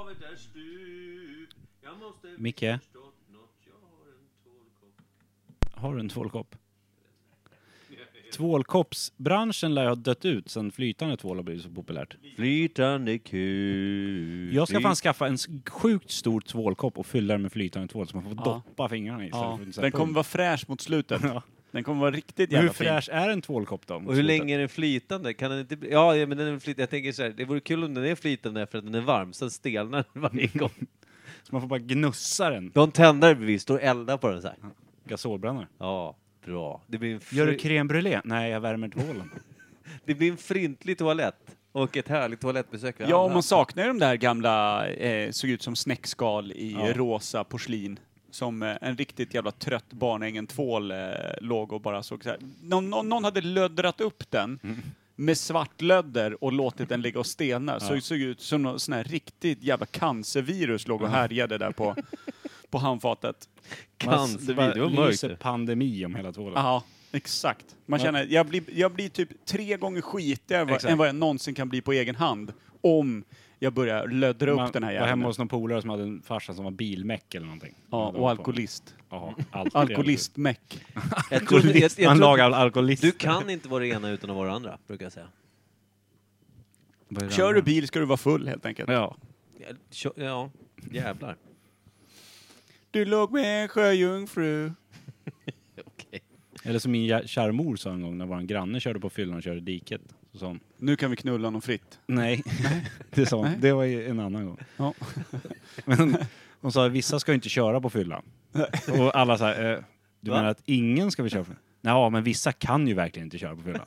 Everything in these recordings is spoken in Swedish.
är stup Jag måste Micke? förstått något. Jag har en tvålkopp. Har du en tvålkopp? Tvålkoppsbranschen lär ju ha dött ut sen flytande tvål har blivit så populärt. Flytande kul. Jag ska fan skaffa en s- sjukt stor tvålkopp och fylla den med flytande tvål så man får Ja. doppa fingrarna i istället Ja. för att sätta Den kommer upp. vara fräsch mot slutet. Ja. Den kommer vara riktigt Men Hur jävla fin. fräsch är en tvålkopp då? mot Och hur slutet? länge är den flytande? Kan den inte bli... Ja, ja, men den är flytande. Jag tänker så här, det vore kul om den är flytande för att den är varm, sen stelnar den varje gång. Så man får bara gnussa den. Du har en tändare bredvid, står och eldar på den så här. Gasolbrännare. Ja, bra. Det blir en, Gör du fri... crème brûlée? Nej, jag värmer tvålen. det blir en frintlig toalett. Och ett härligt toalettbesök. för Ja, och alla. man saknar ju de där gamla, eh, såg ut som snäckskal i Ja. rosa porslin. Som eh, en riktigt jävla trött barnängen tvål eh, låg och bara såg så här. Någon, någon, någon hade löddrat upp den Mm. med svart lödder och låtit den ligga och stelna. Så det såg ut som någon sån här riktigt jävla cancervirus låg och härjade där på, på handfatet. Cancer, Man det var mörkt. lyser pandemi om hela tvålen. Ja, exakt. Man känner, jag blir, jag blir typ tre gånger skitigare vad- Exakt. än vad jag någonsin kan bli på egen hand om jag börjar löddra Man upp den här var hemma jäveln. hos någon polare som hade en farsa som var bilmäck eller någonting. Ja, och alkoholist. Jaha, allt Alkoholistmäck. Jag tror- jag- jag tror- Han lagar alkoholist. Du kan inte vara det ena utan att vara det andra, brukar jag säga. Kör du bil ska du vara full helt enkelt. Ja. Ja, kö- Ja, jävlar. Du låg med en sjöjungfru. Okej. Eller som min ja- kära mor sa en gång när vår granne körde på fyllan och körde i diket. Så sa hon, Nu kan vi knulla honom fritt. nej. det sa hon. Nej. Det var ju en annan gång. Ja. Men hon sa, vissa ska ju inte köra på fyllan. och alla sa, eh, du Va? menar att ingen ska få köra på fyllan? Ja, men vissa kan ju verkligen inte köra på fyllan.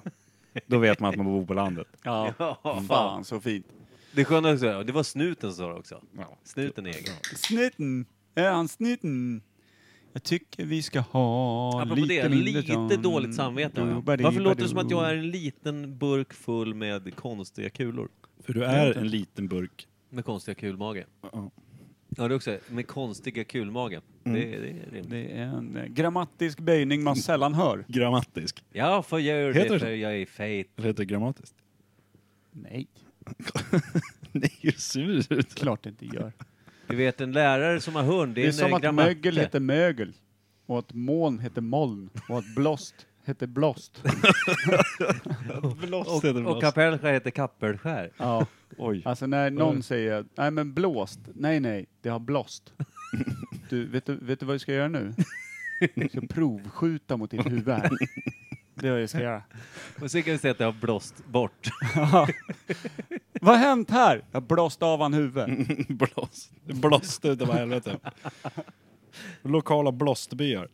Då vet man att man bor på landet. Ja. Fan så fint. Det sköna också, är- det var snuten som sa det också. Ja. Snuten är egen. Snuten. Är han snuten? Jag tycker vi ska ha Apropå det, mindre lite ton. dåligt samvete har jag. Doobadi-badu. Varför låter det som att jag är en liten burk full med konstiga kulor? För du är en liten burk. Med konstiga kulmage. Ja, det också. Med konstiga kulmage. Det, det är rimligt. Det är en eh, grammatisk böjning man sällan hör. Grammatisk. Ja, för jag gör Heter det det för så? jag är feit. Eller heter det grammatiskt? Nej, Nej, du sur ut. klart det inte gör. Du vet, en lärare som har hund, det Det är, är, eh, en som att grammatik. mögel heter mögel. Och att moln heter moln. Och att blåst heter blåst. Blåst heter Och, och kapellskär heter kappelskär. Ja. Oj. Alltså när någon säger, nej men blåst, nej nej, det har blåst. Du, vet du, vet du vad du ska göra nu? Du ska provskjuta mot ditt huvud här. Det är vad du ska göra. Och sen kan vi säga att det har blåst bort. Vad har hänt här? Jag blåst av han huvudet. Blåst. Blåst utav helvete. Lokala blåstbyar.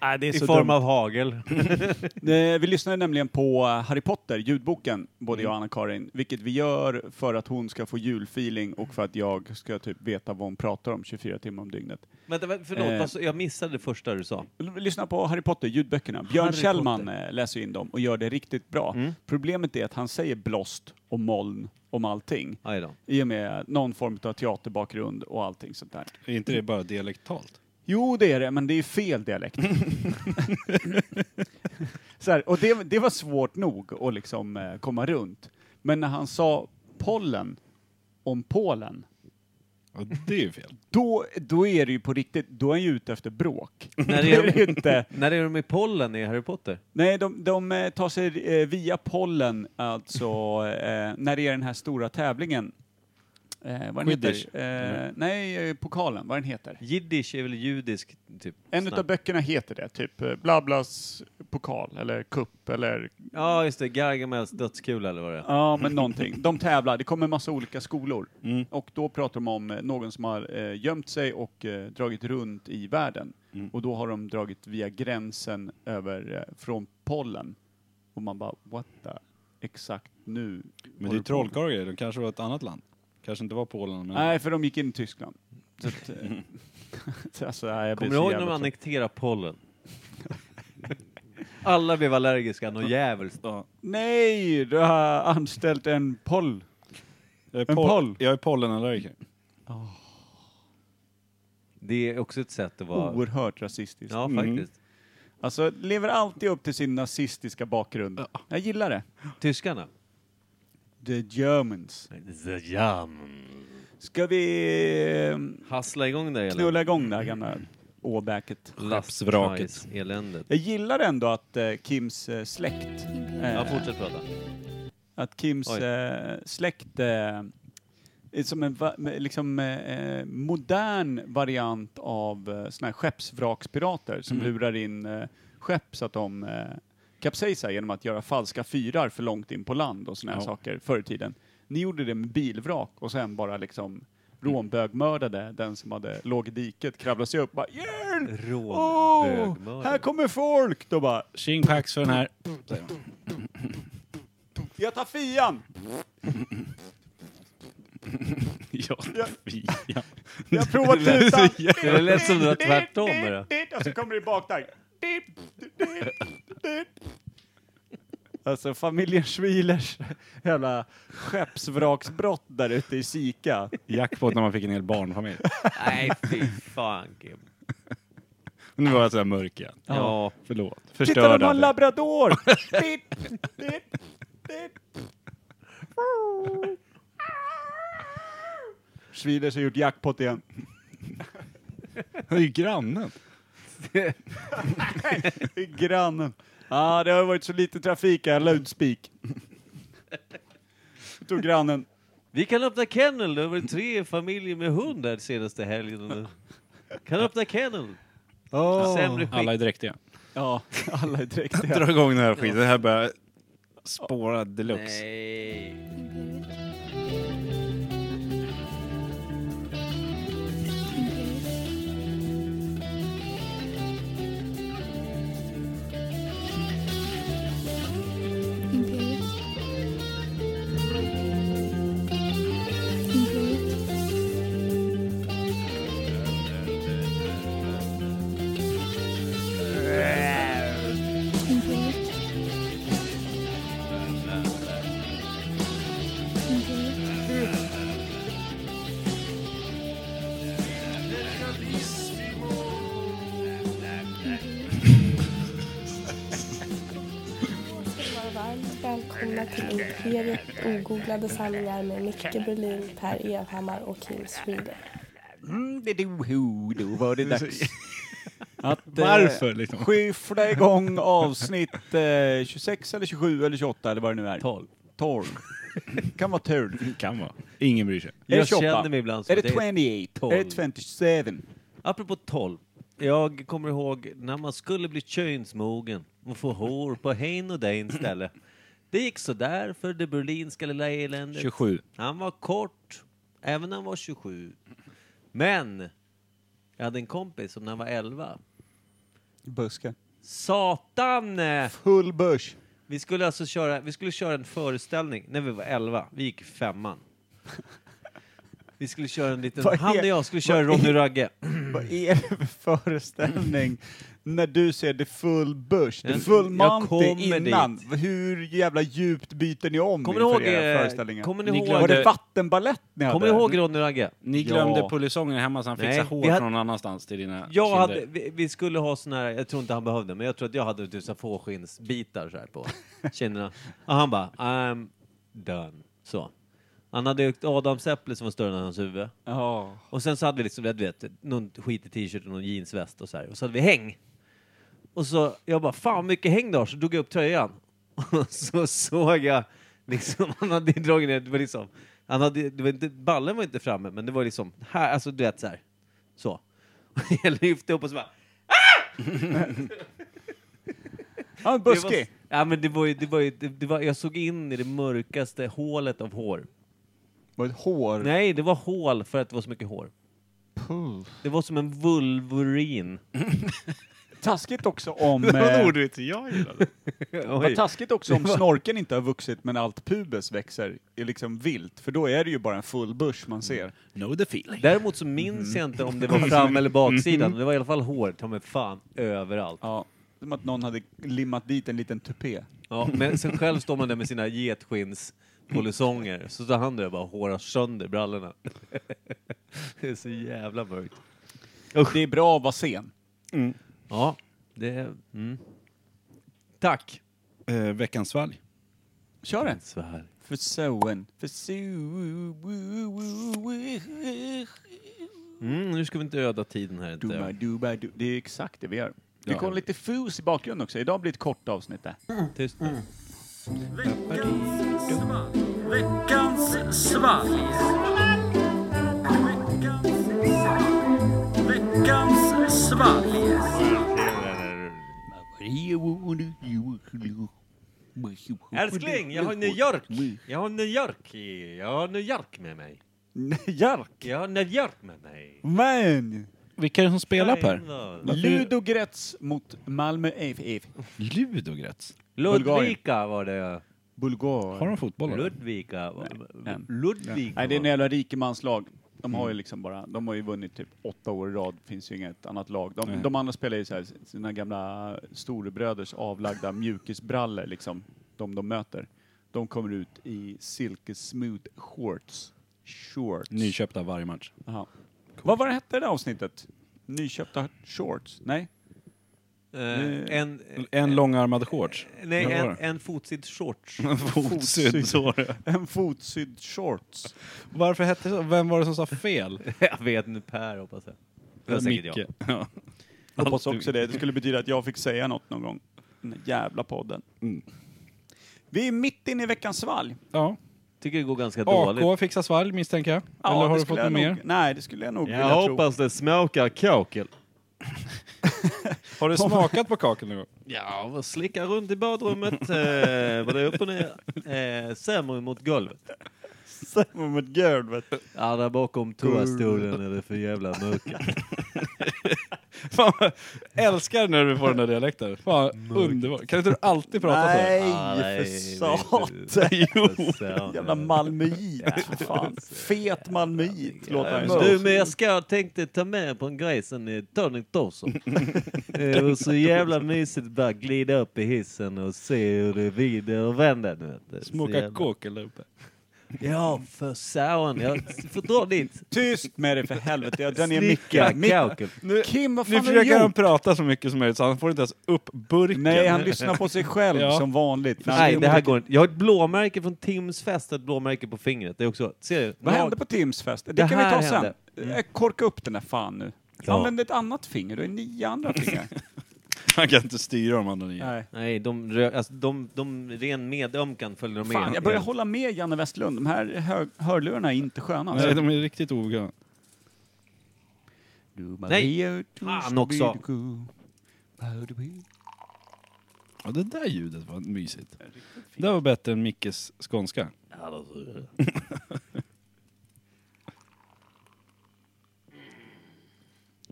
Nej, det är I form av hagel. Eh, Vi lyssnade nämligen på eh, Harry Potter, ljudboken, både jag och Anna-Karin, vilket vi gör för att hon ska få julfeeling och för att jag ska typ veta vad hon pratar om 24 timmar om dygnet. Vänta, vä- förlåt, Eh. vad sa- jag missade det första du sa. L- Lyssna på Harry Potter, ljudböckerna. Björn Harry Kjellman eh, läser in dem och gör det riktigt bra. Problemet är att han säger blåst och moln om allting. Aj då. I och med någon form av teaterbakgrund och allting sånt där. Är inte det bara dialektalt? Jo, det är det, men det är fel dialekt. så här, och det, det var svårt nog att liksom eh, komma runt. Men när han sa pollen om Polen, Ja, det är ju fel. då, då är det ju på riktigt, då är han ju ute efter bråk. När det är är de- det ju inte. När är de i pollen i Harry Potter? Nej, de, de eh, tar sig eh, via pollen, alltså eh, när det är den här stora tävlingen. Eh, vad den Quidditch. heter? Eh, nej, eh, pokalen, vad den heter. Jiddisch är väl judisk, typ? En snack. utav böckerna heter det, typ eh, Blablas pokal eller kupp eller Ja, just det. Gargamels dödskula eller vad det är. Ja, men någonting. De tävlar. Det kommer en massa olika skolor. Mm. Och då pratar de om eh, någon som har eh, gömt sig och eh, dragit runt i världen. Mm. Och då har de dragit via gränsen över eh, från pollen. Och man bara, what the? Exakt nu. Men det är håller du på med- trollkarlar och grejer. De kanske var ett annat land. Kanske inte var Polen. Men... Nej, för de gick in i Tyskland. Så att, eh, Mm. så alltså, nej, jag blir Kommer du så ihåg när jävla de trött. annekterade pollen? Alla blev allergiska, något jävligt. Nej, du har anställt en poll. Jag är, En pol- poll. jag är pollenallergiker. Det är också ett sätt att vara... Oerhört rasistiskt. Ja, faktiskt. Alltså, lever alltid upp till sin nazistiska bakgrund. Jag gillar det. Tyskarna. The Germans. The German. Ska vi eh, Hassla igång det hela. knulla igång det här Mm. gamla åbäket? Lappsvraket. Lappsvraket. Eländet. Jag gillar ändå att eh, Kims eh, släkt, Ja, eh, fortsätt prata. att Kims Oj. eh, släkt eh, är som en va- med- liksom, eh, modern variant av eh, såna här skeppsvrakspirater som Mm. lurar in eh, skepp så att de eh, kapsejsar genom att göra falska fyrar för långt in på land och såna här Ja. saker förr i tiden. Ni gjorde det med bilvrak och sen bara liksom Mm. rånbögmördade den som hade låg i diket, kravlade sig upp bara hjälp! Åh, här Rånbögmördare. kommer folk! Då bara Tjing pax för den här. Jag tar fian! Ja, fia. Jag har provat tutan! Det lät som det var tvärtom, eller? Och så kommer det bak där. Alltså familjen Schwielers jävla skeppsvraksbrott där ute i Sika. Jackpot när man fick en hel barnfamilj. Nej, fy fan Kim. Nu var jag sådär mörk igen. Ja. Förlåt. Titta, de har Förstörda. en labrador! Schwielers har gjort jackpot igen. Det är ju grannen. Det är Grannen. Ja, det har varit så lite trafik här, ludspik. Då Tog grannen. Vi kan öppna kennel. Det har varit tre familjer med hund där senaste helgen. Kan öppna kennel. Sämre skick. Alla är dräktiga. Ja, alla är dräktiga. Dra igång den här skiten. Det här börjar spåra deluxe. Nej. Imperial. Imperial. Imperial. Imperial. ska ni vara varmt välkomna till Imperiet ogooglade sanningar med Micke Berlin, Per Evhammar och Kim Sweden. Mm, det do, ho, då var det dags. Att, eh, Varför, liksom? Skyffla igång avsnitt eh, 26 eller 27 eller 28 eller vad det nu är. 12. 12. kan vara 12. Är Kan vara. Ingen bryr sig. det Jag 28? känner mig ibland som Är det att det 28? är Är 12? det 27? Apropå 12. Jag kommer ihåg när man skulle bli könsmogen och få hår på hen och den istället. Det gick sådär för det berlinska lilla eländet. 27. Han var kort, även när han var 27. Men jag hade en kompis som när han var 11. Buske. Satan! eh, Full bush. Vi skulle alltså köra, vi skulle köra en föreställning när vi var 11. Vi gick i femman. Vi skulle köra en liten... Vad är- Han och jag skulle köra vad är- Ronny Ragge. Vad är det för föreställning när du ser det full bush, det Jag- full jag monty kommer innan? Hur jävla djupt byter ni om Kommer ni inför ihåg, era eh, föreställningar? kommer ni Ni ihåg, eh, glömde- Var det vattenbalett ni hade? kommer ni ihåg Ronny Ragge? Ni glömde Ja. polisongen hemma så han fixade Nej, vi hår hade- från någon annanstans till dina Jag eh, kinder. hade, vi, vi skulle ha sån här, jag tror inte han behövde, men jag tror att jag hade typ så här fåskinnsbitar så här på kinderna. Och han bara, I'm done. Så. Han hade ett adamsäpple som var större än hans huvud. Ja. Och sen så hade vi liksom, du vet, någon skitig t-shirt och någon jeansväst och så här. Och så hade vi häng. Och så, jag bara, fan mycket häng då. Så drog jag upp tröjan. Och så såg jag, liksom, han hade dragit ner, det var liksom, han hade, det var inte, ballen var inte framme, men det var liksom, här, alltså du vet så här. Så. Och jag lyfte upp och så bara, Ja, men Det var, buskig. ja men det var ju, det var ju, det, det var, jag såg in i det mörkaste hålet av hår. Var det ett hår? Nej, det var hål för att det var så mycket hår. Det var som en vulvorin. Taskigt också om... Vad eh, ordvits jag gillade. Vad taskigt också om snorken inte har vuxit men allt pubes växer är liksom vilt, för då är det ju bara en full bush Mm. man ser. Know the feeling. Däremot så minns jag inte om det var fram eller baksidan. Det var i alla fall hår, ta mig fan, överallt. Ja. Som att någon hade limmat dit en liten tupé. Ja, men sen själv står man där med sina getskins polisonger. Så tar han det och bara hårar sönder brallorna. Det är så jävla mörkt. Det är bra att vara sen. Ja, det... är- Mm. Tack! Eh, veckans svalg. Kör den! Svalg. För soen. För soen. Mm, nu ska vi inte öda tiden här Duba, inte. duba, du. Det är exakt det vi gör. Vi Ja. kommer lite fus i bakgrunden också. Idag blir det ett kort avsnitt där. Tyst. Veckans svalg. Veckans svalg. Veckans svalg. Veckans svalg. Älskling, jag har Mm. New York! Jag har New York! i- Jag har New York med mig. Jark! Jag har New York med mig. Man! Vilka är det som spelar Per? Ludogorets mot Malmö FF. Ludogorets? Ludvika var det. Bulgar. Har de fotbollar? Ludvika. var- nej. Ludvika. Nej, det är en var- jävla rikemanslag. De har ju liksom bara, de har ju vunnit typ åtta år i rad, finns ju inget annat lag. De, de andra spelar ju så här, sina gamla storebröders avlagda mjukisbrallor liksom, de de möter. De kommer ut i silkesmooth shorts. Shorts. Nyköpta varje match. Jaha. Vad var det hette det där avsnittet? Nyköpta shorts? Nej? Eh, en, En långärmad shorts. nej, Vad en, var det? en fotsid shorts. Fotsydd. så var det. En fotsydd shorts. Varför hette det så? Vem var det som sa fel? jag vet nu Per hoppas jag. Det var säkert jag. Micke. Ja. Jag hoppas också det. Det skulle betyda att jag fick säga något någon gång. Den där jävla podden. Mm. Vi är mitt inne i veckans svalg. ja. Tycker det går ganska dåligt. AK fixar svalg misstänker jag. Eller har det du fått skulle något jag nog, mer? Nej, det skulle jag nog vilja Jag hoppas det smakar kakel. Har du smakat på kakan någon gång? Ja, vad slickar runt i badrummet. eh, Både upp och ner. Eh, Sämre mot golvet. tro. Om ett golvet. Ja, där bakom toastolen är det för jävla mörker. Fan, vad- älskar när du får den där dialekten. Fan, underbart. Kan inte du alltid prata så här? Ah, Nej, nej, för satan. det Jo, sant. jävla malmöit. för fan. Fet malmöit. Låt mig Ja, du, men jag ska jag tänkte ta med på en grej sen i Tony Thorsson. det var så jävla mysigt att bara glida upp i hissen och se hur det vrider och vänder. du vet. Det är så Smoka jävla- kåkel där uppe. Ja, för satan. Jag får dra dit. Tyst med dig för helvete. Jag drar ner Slicka micken. Mick- kauken. Nu, Kim, vad nu fan har du försöker han gjort? prata så mycket som möjligt så han får inte ens upp burken. Nej, han lyssnar på sig själv Ja. som vanligt. Nej, det här går inte. Jag har ett blåmärke från Tims fest, ett blåmärke på fingret. Det är också... Ser du? Vad Nag- hände på Tims fest? Det, Det kan vi ta här sen. hände. Mm. Eh, Korka upp den där fan nu. Ja. Använd ett annat finger, du har nio andra fingrar. Han kan inte styra de andra nio. Nej. Nej, de, rö- alltså, de, de ren medömkan följer de med. Fan, jag börjar hålla med Janne Westlund. De här hör hörlurarna är inte sköna. Nej, de är Alltså. riktigt ogöna. Nej, fan också. Ja, det där ljudet var mysigt. Det där var bättre än Mickes skånska.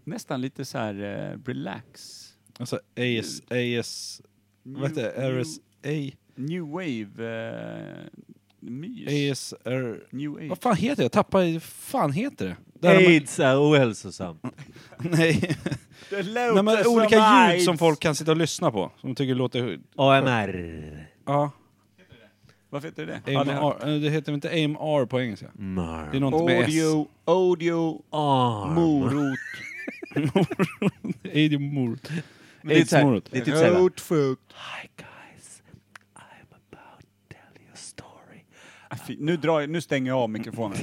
Nästan lite så här eh, relax. Alltså AS... Mm. AS... Vad heter det? RS... A... New wave eh, mys. ASR... New wave. Vad fan heter det? Jag tappar... Vad fan heter det? Där har man- Aids är ohälsosamt. Nej. Nej, men olika ljud som folk kan sitta och lyssna på. Som de tycker låter... AMR. Ja. Varför heter det det? Har ni hört? AMR. Eh, Det heter väl inte AMR på engelska? Mar. Mm. Det är något med S. Audio, audio, Arm. morot. Audio mor. Men det är så här- Aids-morot. det är typ så här- Rotfukt. Hi guys, I'm about to tell you a story. Ah, fy, Nu, drar jag, nu stänger jag av mikrofonen.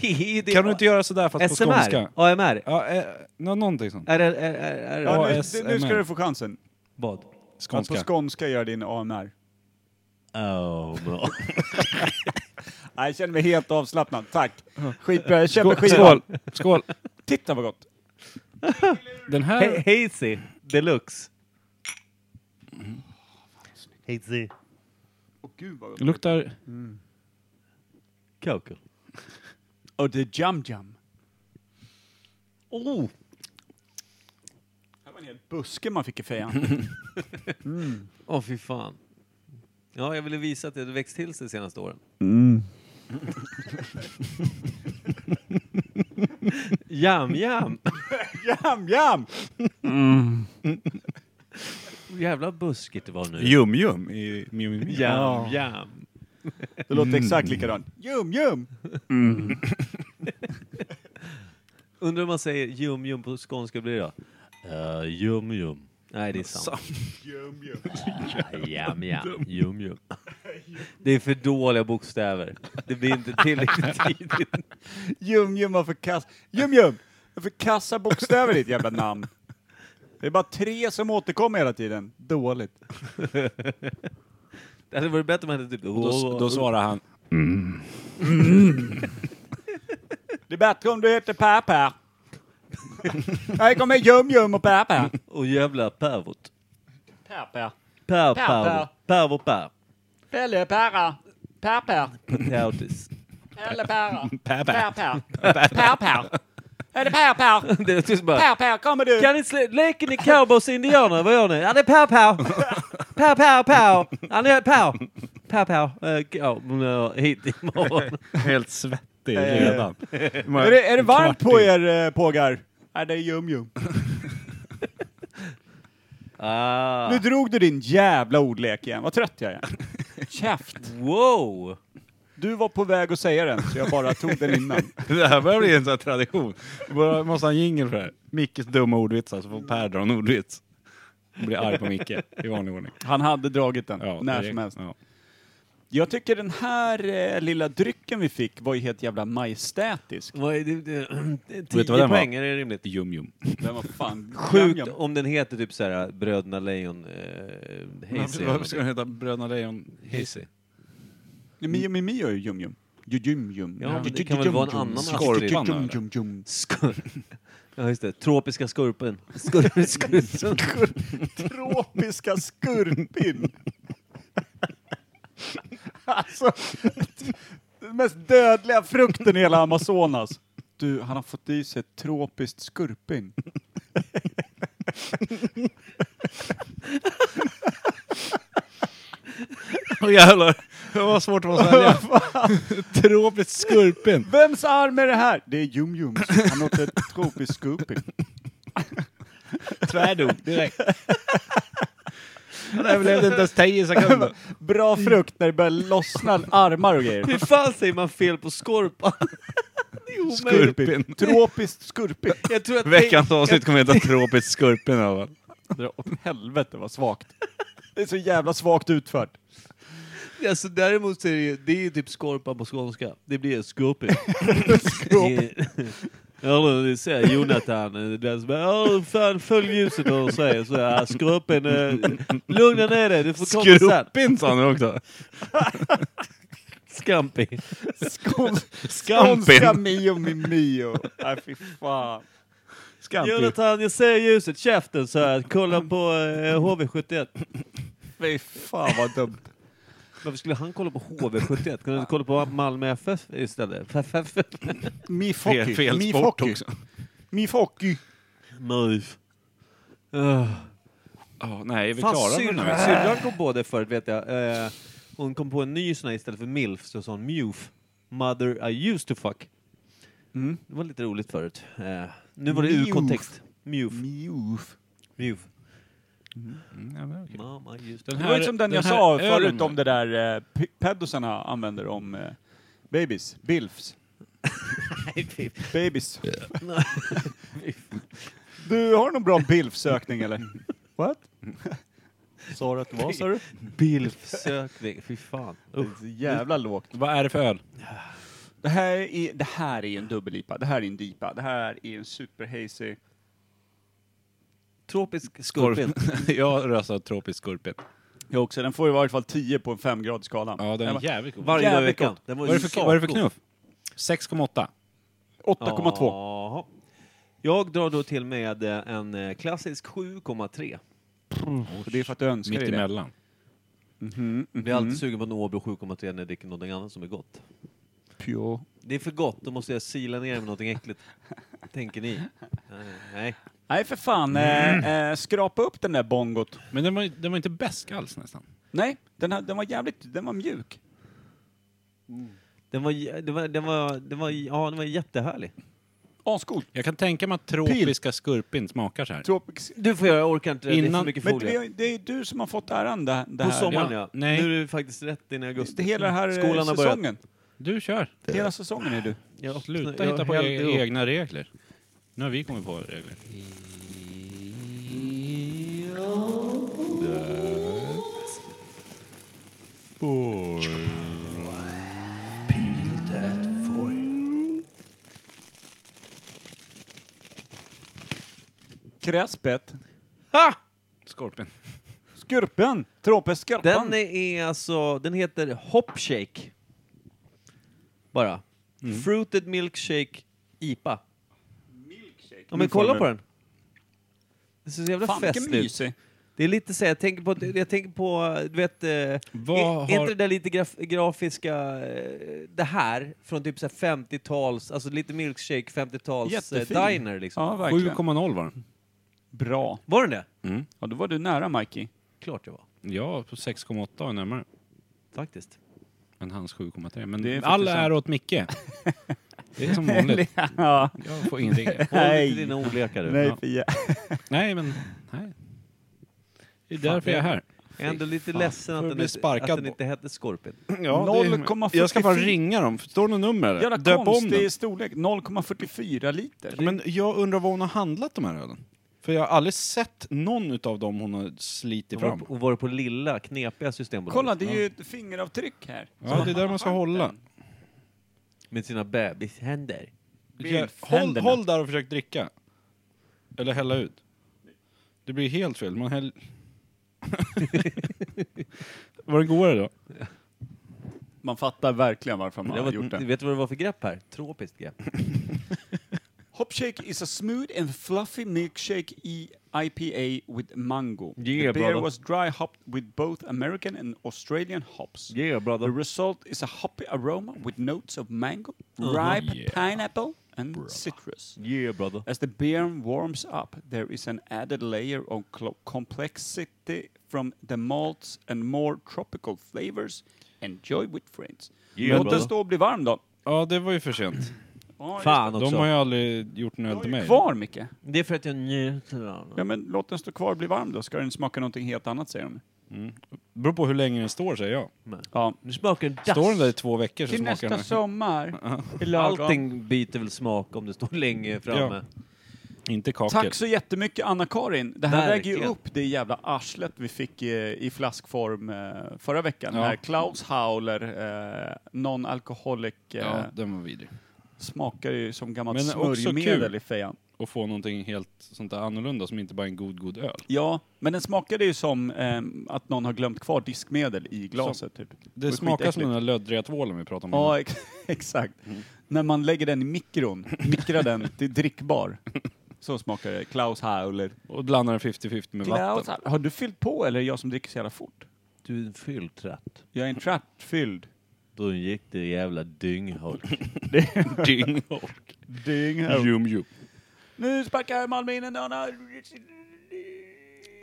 Kan du inte göra sådär fast på SMR? skånska? AMR? Ja, eh, nå- någonting sånt. Är det... Är, är, är, Ja, är, nu, ASMR. nu ska du få chansen. vad? Att på Skånska. skånska göra din AMR. Oh, no. Nej, jag känner mig helt avslappnad. Tack. Skitbra, jag köper Skål! skivan. Skål! Skål. Titta vad gott. Den Ha- här... Hazy Deluxe. Mm. Hazy. Åh gud vad gott. Luktar... Kakao. Och det är Jum Jum. Oh. Det var en hel buske man fick i fejan. Åh, fy fan. Ja, jag ville visa att det hade växt till sig de senaste åren. Mm. jam, jam! jam Jum! Jävla buskigt det var nu. Jum-jum i Miu Miu Miu. Jam, jam. Det låter Mm. exakt likadant. Jum Jum! Undrar om man säger jum, jum på skånska blir det då? Eh, jum, jum. Nej, det är sant. Jum Jum. jam, jam. Jum, jum. Det är för dåliga bokstäver. Det blir inte tillräckligt tidigt. Ljum-ljum har förkastat... Ljum-ljum! Jag förkastar bokstäver i ditt jävla namn. Det är bara tre som återkommer hela tiden. Dåligt. Det hade varit bättre om man hade typ... Då, då svarar han. Det är bättre om du heter Pappa. Här kommer Ljum-ljum och Pappa. Och jävla pervot. Pappa. Per, Per, pervot. Pervot, per. Pelle Perra. Pappa. Potatis. Pelle Perra. Pappa. Pappa. Pappa. Är det Pappa? Det är tyst bara... Pappa, kommer du? Kan ni slä- leker ni cowboys och indianer? Vad gör ni? Ja, det är pow pow. Pow pow pow. Ja, ni är pow. Pow pow. Eh, Ja, men, eh, hit imorgon. Helt svettig redan. Är det, är det varmt på er eh, pågar? Nej, det är Ljum-ljum. Ah, Nu drog du din jävla ordlek igen. Vad trött jag är. Käft. wow. Du var på väg att säga den, så jag bara tog den innan. Det här börjar bli en sån här tradition. Vi bara måste ha en jingel för det här. Mickes dumma ordvitsar så får Per dra en ordvits. Och blir arg på Micke i vanlig ordning. Han hade dragit den, Ja, när det- som helst. Ja. Jag tycker den här eh, lilla drycken vi fick var ju helt jävla majestätisk. Vad är det? det? vad den Tio var? poäng, är det rimligt? Jum jum. Den var fan Sjukt om den heter typ så här Bröderna Lejon... Eh, Hayes Varför ska eller den heta Bröderna Lejon Hazy? Mio Mio Mio är ju Jum-Jum. Jum-Jum. Ja, men det kan väl vara en annan Astrid? Skorpan, eller? Jum-Jum. Skur- ja, just det. Tropiska skorpen. Skur- skur- skur- Tropiska skurpin. alltså, den mest dödliga frukten i hela Amazonas. Du, han har fått i sig ett tropiskt skurpin. Åh jävlar, det var svårt att vara svälja. Tropiskt skurpin. Vems arm är det här? Det är Jum-Jum. Han åt ett tropiskt skurpin. Tvärdog direkt. Han överlevde inte ens 10 sekunder. Bra frukt när det börjar lossna armar och grejer. Hur fan säger man fel på skorpan? det är omöjligt. Skurpin. Tropiskt skurpin. Jag tror att Veckans avsnitt kommer heta Tropiskt skurpin i alla fall. Åt helvete vad svagt. Det är så jävla svagt utfört. Alltså, däremot så är det ju, det är ju typ skorpan på skånska. Det blir skorpi. Eller det säger Jonathan, eh, den som bara "Åh, fan följ ljuset och säger så här, skorpen, eh, lugna ner dig, du får komma sen. Skurpin sa han också. Skampi. Skånska Skampin. Mio Mimio. Nej fy fan. Skampin. Jonathan, jag ser ljuset, käften så här, kolla på eh, HV71. Fy fan vad dumt. Varför skulle han kolla på HV71? Kunde han inte kolla på Malmö FF istället? FF. Fel, Mifoki. fel sport också. Mifoki. Muf. Uh. Oh, nej, är vi Fan, klara med den syrran här? syrran kom på det förut vet jag. Eh, hon kom på en ny sån här istället för milf, så sa hon muf. Mother I used to fuck. Mm. Det var lite roligt förut. Eh, nu var det Muf. ur kontext. Muf. Miuf. Muf. Mm, Ja, men okej. Mama used to Den Det här- var ju som den, jag här sa ölen förut då? om det där eh, p- peddosarna använder om eh, babies. Bilfs. fuck. Babies. Du, har du någon bra bilfsökning eller? What? Sa du att det var, sa du? Bilf-sökning. Fy fan. Det är så jävla lågt. Vad är det för öl? Det här är, det här är en dubbel-IPA, det här är en DIPA, det här är en super-hazy. Tropisk skorpion. jag röstar tropisk skorpion. Ja, också, den får ju i varje fall 10 på en 5-gradig skala. Ja, den Den är var- jävligt god. Vad Varje dag i Jävligt veckan. gott. Den var är det för, sakgod. vad är det för knuff? 6,8. 8,2. Jaha. Jag drar då till med eh, en eh, klassisk 7,3. Och Det är för att du önskar dig det. Mhm, Mittemellan. Jag blir Mm. alltid sugen på en Åbo 7,3 när jag dricker någonting annat som är gott. Pure. Det är för gott, då måste jag sila ner med någonting äckligt. Tänker ni? Nej, Nej. Nej, för fan. Mm. Eh, eh, skrapa upp den där bongot. Men den var, den var inte bäsk alls nästan. Nej, den, här, den var jävligt, den var mjuk. Den var, j- den var, den var, den var, ja, den var jättehärlig. Ascool. Jag kan tänka mig att tropiska skorpion smakar så här. Tropics. Du får göra, jag orkar inte. det är Innan- för mycket Men det folie. är, det är du som har fått äran det, det På här. sommaren ja. nej. Nu är det faktiskt rätt in i augusti. Det hela den här eh, Mm. Skolan har börjat. säsongen. Du kör. Hela säsongen är du. Jag öppnar- Sluta jag hitta på hällde e upp. egna regler. Nu har vi kommit på regler. Kräspet. Ha! Skorpion. Skurpen. Tråpeskorpan. Den är alltså, den heter Hopshake. Bara. Mm. Fruited Milkshake IPA. Ja men kolla på den. Det ser så jävla Fan vilken festligt ut. mysig. Det är lite så här, jag tänker på, jag tänker på du vet, eh, är, Vad är har- inte det där lite graf, grafiska, eh, det här, från typ så här 50-tals, alltså lite milkshake 50-tals eh, Jättefin. diner liksom. Ja, verkligen. 7,0 var den. Bra. Var den det? Ja, då var du nära Mikey. Klart jag var, Ja, på 6,8 är närmare. faktiskt. än hans 7,3. Men Det är all faktiskt är åt Micke. Det är som vanligt. ja. Jag får ingenting. Håll Nej. inte dina ordlekar du. Nej, Ja. för jä- Nej, men nej. Det är därför jag är här. Jag är ändå lite ledsen Får att du den, inte, bli att sparkad den på? inte hette Skorpion. Ja, det är- 0,44. jag ska bara ringa dem. Står det något nummer? eller? Jävla Döp om den. konstig storlek. 0,44 liter. Men jag undrar vad hon har handlat de här ölen. För jag har aldrig sett någon utav dem hon har slitit Hon var, fram. på- hon var på lilla, knepiga Systembolaget. Kolla, det är ju ett fingeravtryck här. Ja, det är där man ska hålla. Med sina bebishänder. Ja, Håll, händerna. håll där och försök dricka. Eller hälla ut. Det blir helt fel. Man häll... Var den godare då? Man fattar verkligen varför man Det har var, gjort det. Vet du vad det var för grepp här? Tropiskt grepp. Hopshake is a smooth and fluffy milkshake e IPA with mango. Yeah, the beer brother. was dry hopped with both American and Australian hops. Yeah, brother. The result is a hoppy aroma with notes of mango, Uh-huh. ripe pineapple, and citrus. Yeah brother. As the beer warms up, there is an added layer of clo- complexity from the malts and more tropical flavors. Enjoy with friends. Yeah, Låt den brotå. stå och bli varm då. Ja, det var ju för sent. Ja, just Fan De har ju också. aldrig gjort en det. öl till Den är ju mig. Kvar Micke. Det är för att jag njuter av Ja den. men låt den stå kvar och bli varm då, ska den smaka någonting helt annat säger de. Beror på hur länge den står säger jag. Ja. Nu smakar den Står den där i dass. två veckor så Till smakar nästa den. sommar. i lagom. Allting byter väl smak om det står länge framme. Inte kakel. Tack så jättemycket Anna-Karin. Det här Verkligen. väger ju upp det jävla arslet vi fick i, i flaskform eh, förra veckan. Ja. När Klaus Hauler, eh, non-alcoholic, eh, Ja, den var vidrig. smakar ju som gammalt Men också smörjmedel kul. i fejan. Och få någonting helt sånt där annorlunda som inte bara är en god, god öl. Ja, men den smakade ju som eh, att någon har glömt kvar diskmedel i glaset. Typ. Det var smakar som skitäckligt. den där löddriga tvålen vi pratade om. Ja, ex exakt. När man lägger den i mikron, mikrar den till drickbar. Så smakar det. Klaus Hauler. Och blandar den 50-50 med Klaus vatten. Hauler. Har du fyllt på eller är det jag som dricker så jävla fort? Du är en fylltratt. Jag är en trattfylld. Då gick det jävla dynghårt. Dynghårt. Dynghåll. Jum, jum. Nu sparkar Malmö in en dörna.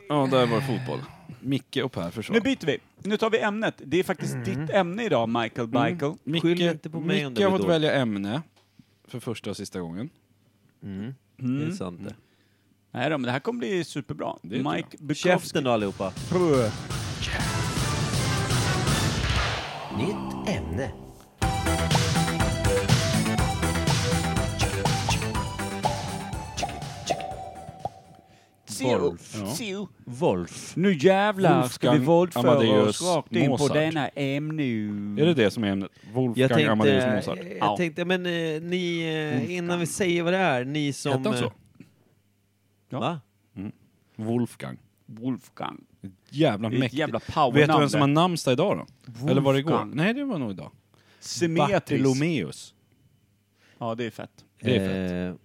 Ja, där var det fotboll. Micke och Per försvann. Nu byter vi. Nu tar vi ämnet. Det är faktiskt Mm. ditt ämne idag, Michael Michael. Micke, Skyll inte på mig om Micke det har blir fått dåligt. välja ämne för första och sista gången. Mm. Det är sant det. Nej då, men det här kommer bli superbra. är inte Mike Bukowski. Käften då allihopa. Nytt ämne. Wolf. Ja. Wolf. Nu jävlar ska vi Wolfgang våldföra Amadeus oss rakt in på Mozart. denna ämne. Är det det som är ämnet? Wolfgang Mm. Jag tänkte, Amadeus Mozart. jag tänkte men eh, ni, eh, innan vi säger vad det är, ni som... Hette han så? eh, Va? Wolfgang. Wolfgang. Jävla Det är ett mäktigt. jävla powernamn Vet du vem som det. har namnsdag idag då? Eller var det igår? Wolfgang. Nej, det var nog idag. Symmetriskt. Bartolomeus. Ja, det är fett. Det är fett. Eh,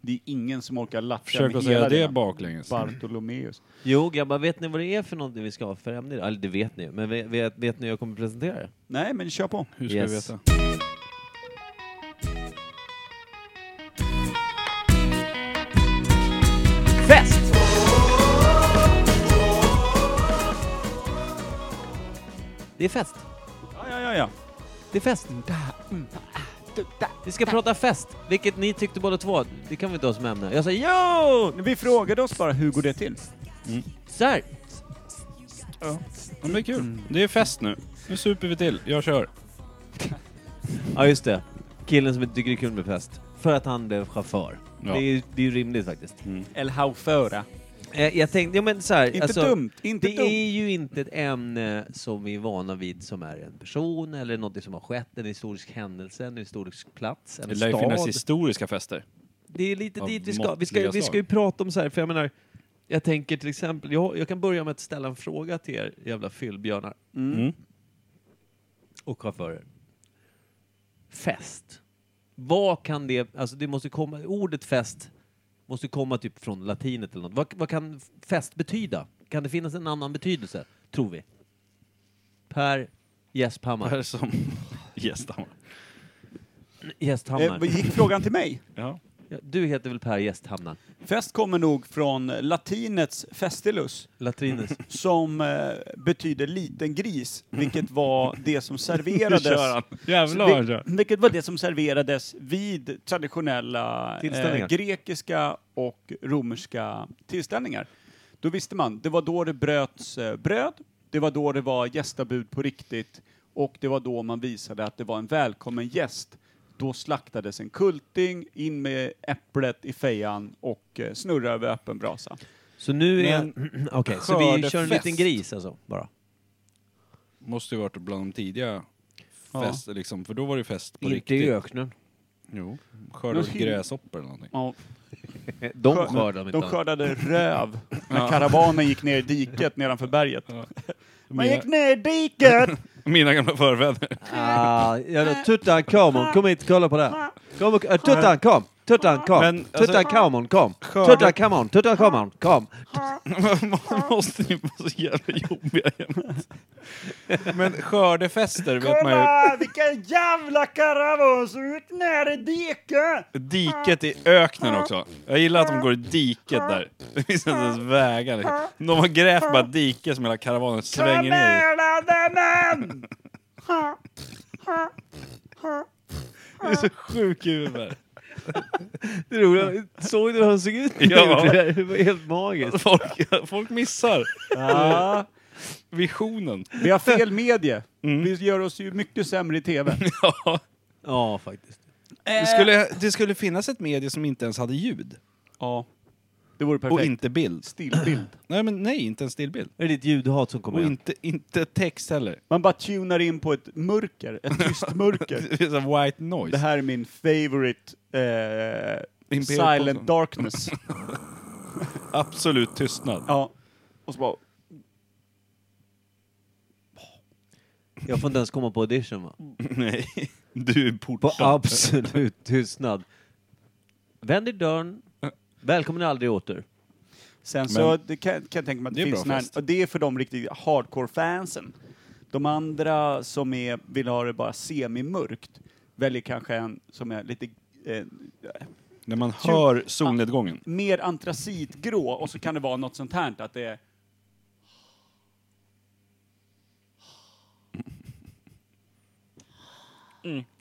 Det är ingen som orkar latcha Försök med att säga hela det den. baklänges. Bartolomeus. Jo, grabbar, vet ni vad det är för någonting vi ska ha för ämne idag? Eller det vet ni, men vet, vet, vet ni hur jag kommer presentera det? Nej, men kör på. Hur ska Yes. vi veta? Fest! Det är fest. Ja, ja, ja. ja. Det är fest. Mm, ah, Vi ska prata fest, vilket ni tyckte båda två. Det kan vi inte ha som ämne. Jag sa jo! Men Vi frågade oss bara hur går det till? Så här. Ja, men det är Mm. kul. Det är fest nu. Nu super vi till. Jag kör. Ja, just det. Killen som inte tycker det är kul med fest. För att han blev chaufför. Ja. Det, är, ju- det är ju rimligt faktiskt. El Hauföra. Eh, Jag tänkte, ja men så här, alltså, Inte dumt, inte det dumt. är ju inte ett ämne som vi är vana vid som är en person eller något som har skett, en historisk händelse, en historisk plats, en Det lär ju finnas stad. historiska fester. Det är lite av dit vi ska. Vi ska, måttliga vi ska ju slag. prata om så här, för jag menar, jag tänker till exempel, jag, jag kan börja med att ställa en fråga till er jävla fyllbjörnar Mm. och chaufförer. Fest. Vad kan det, alltså det måste komma, ordet fest måste komma typ från latinet eller något. Vad, vad kan fest betyda? Kan det finnas en annan betydelse, tror vi? Per Här Gästhammar. som Gästhammar. Gästhammar. Eh, gick frågan till mig? Ja. Ja, Du heter väl Per Gästhammar? Fest kommer nog från latinets festilus, Latrinus. som eh, betyder liten gris, vilket var det som Nu serverades... kör han. Jävlar vad han kör. Vil- vilket var det som serverades vid traditionella eh, Tillställningar. grekiska och romerska tillställningar. Då visste man, det var då det bröts eh, bröd, det var då det var gästabud på riktigt och det var då man visade att det var en välkommen gäst. Då slaktades en kulting, in med äpplet i fejan och eh, snurra över öppen brasa. Så nu är... Men- Okej, så vi kör en Skördefest. liten gris alltså, bara. Måste ju varit bland de tidiga Ja. fester liksom, för då var det ju fest på Inte i riktigt. öknen. Jo. Skördade Men- gräshoppor eller någonting. Ja, De skör- skördar de de inte. skördade röv när karavanen gick ner i diket nedanför berget. Man gick ner i diket! Mina gamla förfäder. Ah, ja, tuttan, come on, kom hit, kolla på det här. Kom, och- eh, tuttan, kom! Tuttan, kom! Men, alltså- tuttan, come on, kom! Skörde- Tuttan, come on, tuttan, come on, kom! Måste ni vara så jävla jobbiga jämt? Men skördefester vet man ju. vilken jävla karavans som gick ner i diket! Diket i öknen också. Jag gillar att de går i diket där. Det finns inte ens vägar. liksom. De har grävt bara ett dike som hela karavanen svänger ner i. män! Det är så sjuk i huvudet. Det roliga, såg du hur han såg ut? Ja. Det där var helt magiskt. Folk, folk missar visionen. Vi har fel medie. Vi gör oss ju mycket sämre i TV. Ja. Ja, faktiskt. Det skulle, det skulle finnas ett medie som inte ens hade ljud. Ja. Det vore Och perfekt. inte bild. Stillbild. Nej, men nej, inte en stillbild. Är det ditt ljudhat som Och kommer igen? inte, inte text heller. Man bara tunar in på ett mörker, ett tyst mörker. Det är så här white Det noise. här är min favorite eh, Imperial silent Cotton. darkness. Absolut tystnad. Ja. Och så bara, Jag får inte ens komma på audition va? Nej. Du är På portad. absolut tystnad. Vänd i dörren. Välkommen aldrig åter. Sen så det kan, kan jag tänka mig att det, Det är finns bra när, fest. och det är för de riktigt hardcore fansen. De andra som är, vill ha det bara semimörkt väljer kanske en som är lite eh, När man hör solnedgången. mer antracitgrå och så kan det vara något sånt här att det är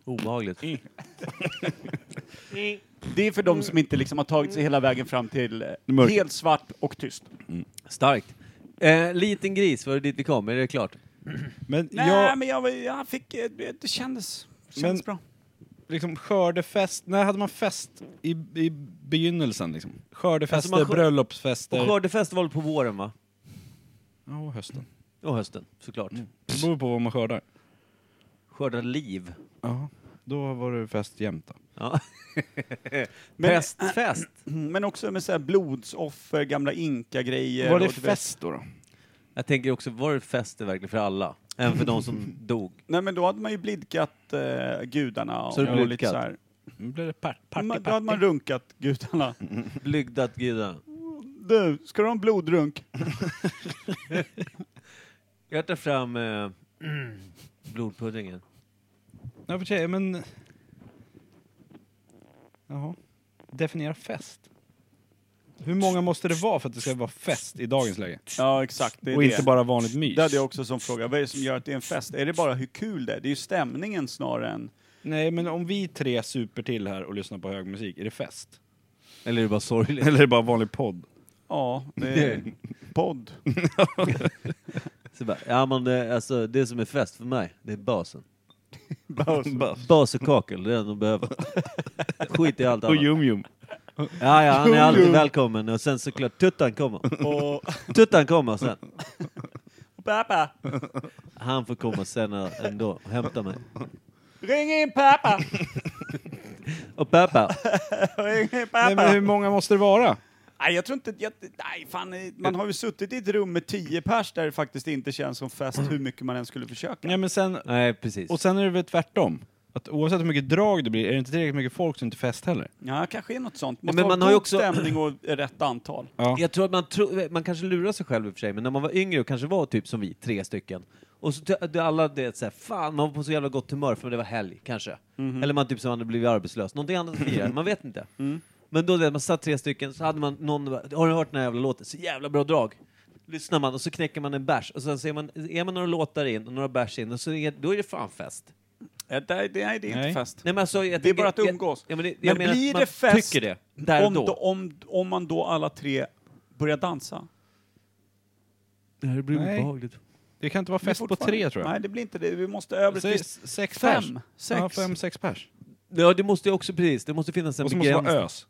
Obehagligt. det är för de som inte liksom har tagit sig hela vägen fram till eh, Mörker. helt svart och tyst. Starkt. Eh, liten gris, var det dit vi kom? Är det klart? Men Nej, jag, men jag, var- jag fick, eh, det det kändes, kändes Men- bra. liksom skördefest, när hade man fest i, i begynnelsen liksom? Skördefester, Alltså man skör- bröllopsfester. Och skördefestival på våren va? Ja, och hösten. Och hösten, såklart. Det beror på vad man skördar. Skörda liv. Ja, då var det fest jämt då. Ja. Men- Prästfest. Mm, Men också med så här blodsoffer, gamla inka-grejer. Var det och du vet- fest då? då? Jag tänker också, var det fest verkligen för alla? Även för de som dog. Nej men då hade man ju blidkat eh, gudarna och, Så det och lite blidkat? så här. Nu blev det part, party, Man, party. då hade man runkat gudarna. Blygdat gudarna. Du, ska du ha en blodrunk? Jag tar fram eh, blodpuddingen. Ja, för sig, men... Jaha. Definiera fest. Hur många måste det vara för att det ska vara fest i dagens läge? Ja exakt, det är Och det. inte bara vanligt mys? Det hade jag också som fråga, vad är det som gör att det är en fest? Är det bara hur kul det är? Det är ju stämningen snarare än... Nej, men om vi tre super till här och lyssnar på hög musik, är det fest? Eller är det bara sorgligt? Eller är det bara vanlig podd? Ja, det är podd. Så bara, ja men det, alltså, det som är fest för mig, det är basen. Bara Bas och kakel, det är det de behöver. Skit i allt och annat. Yum Yum. Ja, ja, han är alltid välkommen och sen såklart Tuttan kommer. Och Tuttan kommer sen. pappa, Han får komma senare ändå och hämta mig. ring in pappa, Och Peppa, ring in Nej, men hur pappa. många måste det vara? Nej, jag tror inte, jag, nej fan, man har ju suttit i ett rum med tio pers där det faktiskt inte känns som fest hur mycket man än skulle försöka. Nej, men sen, nej precis. och sen är det väl tvärtom. Att oavsett hur mycket drag det blir, är det inte tillräckligt mycket folk så är det inte fest heller. Ja, kanske är något sånt. Nej, Måste men ha man har ju god också- stämning och rätt antal. Eh, Ja. Jag tror att man, tro, man kanske lurar sig själv i och för sig, men när man var yngre och kanske var typ som vi, tre stycken. Och så ty- det- alla det såhär, fan man var på så jävla gott humör för det var helg, kanske. Mhm. Eller man typ som hade blivit arbetslös, någonting annat att fira, man vet inte. Mm. Men då det, man satt tre stycken, så hade man någon, har du hört den här jävla låten? Så jävla bra drag. Lyssnar man och så knäcker man en bärs och sen ser man, är man några låtar in och några bärs in och så är, då är det fan fest. Eh, Det, det, nej, det är Nej. inte fest. Nej, men alltså, jag Det är tänker- bara att jag- umgås. Ja, men det, jag menar att blir man det fest tycker det, där om, och då. då- om, om man då alla tre börjar dansa? Det här blir Nej. obehagligt. Det kan inte vara Det är fest på fortfarande- tre tror jag. Nej, det blir inte det. Vi måste över ett Säg visst... s- sex Fem, pers. sex. Ja, fem, sex pers. Ja, det måste ju också, precis, det måste finnas en Och så måste det vara begränsning. ös.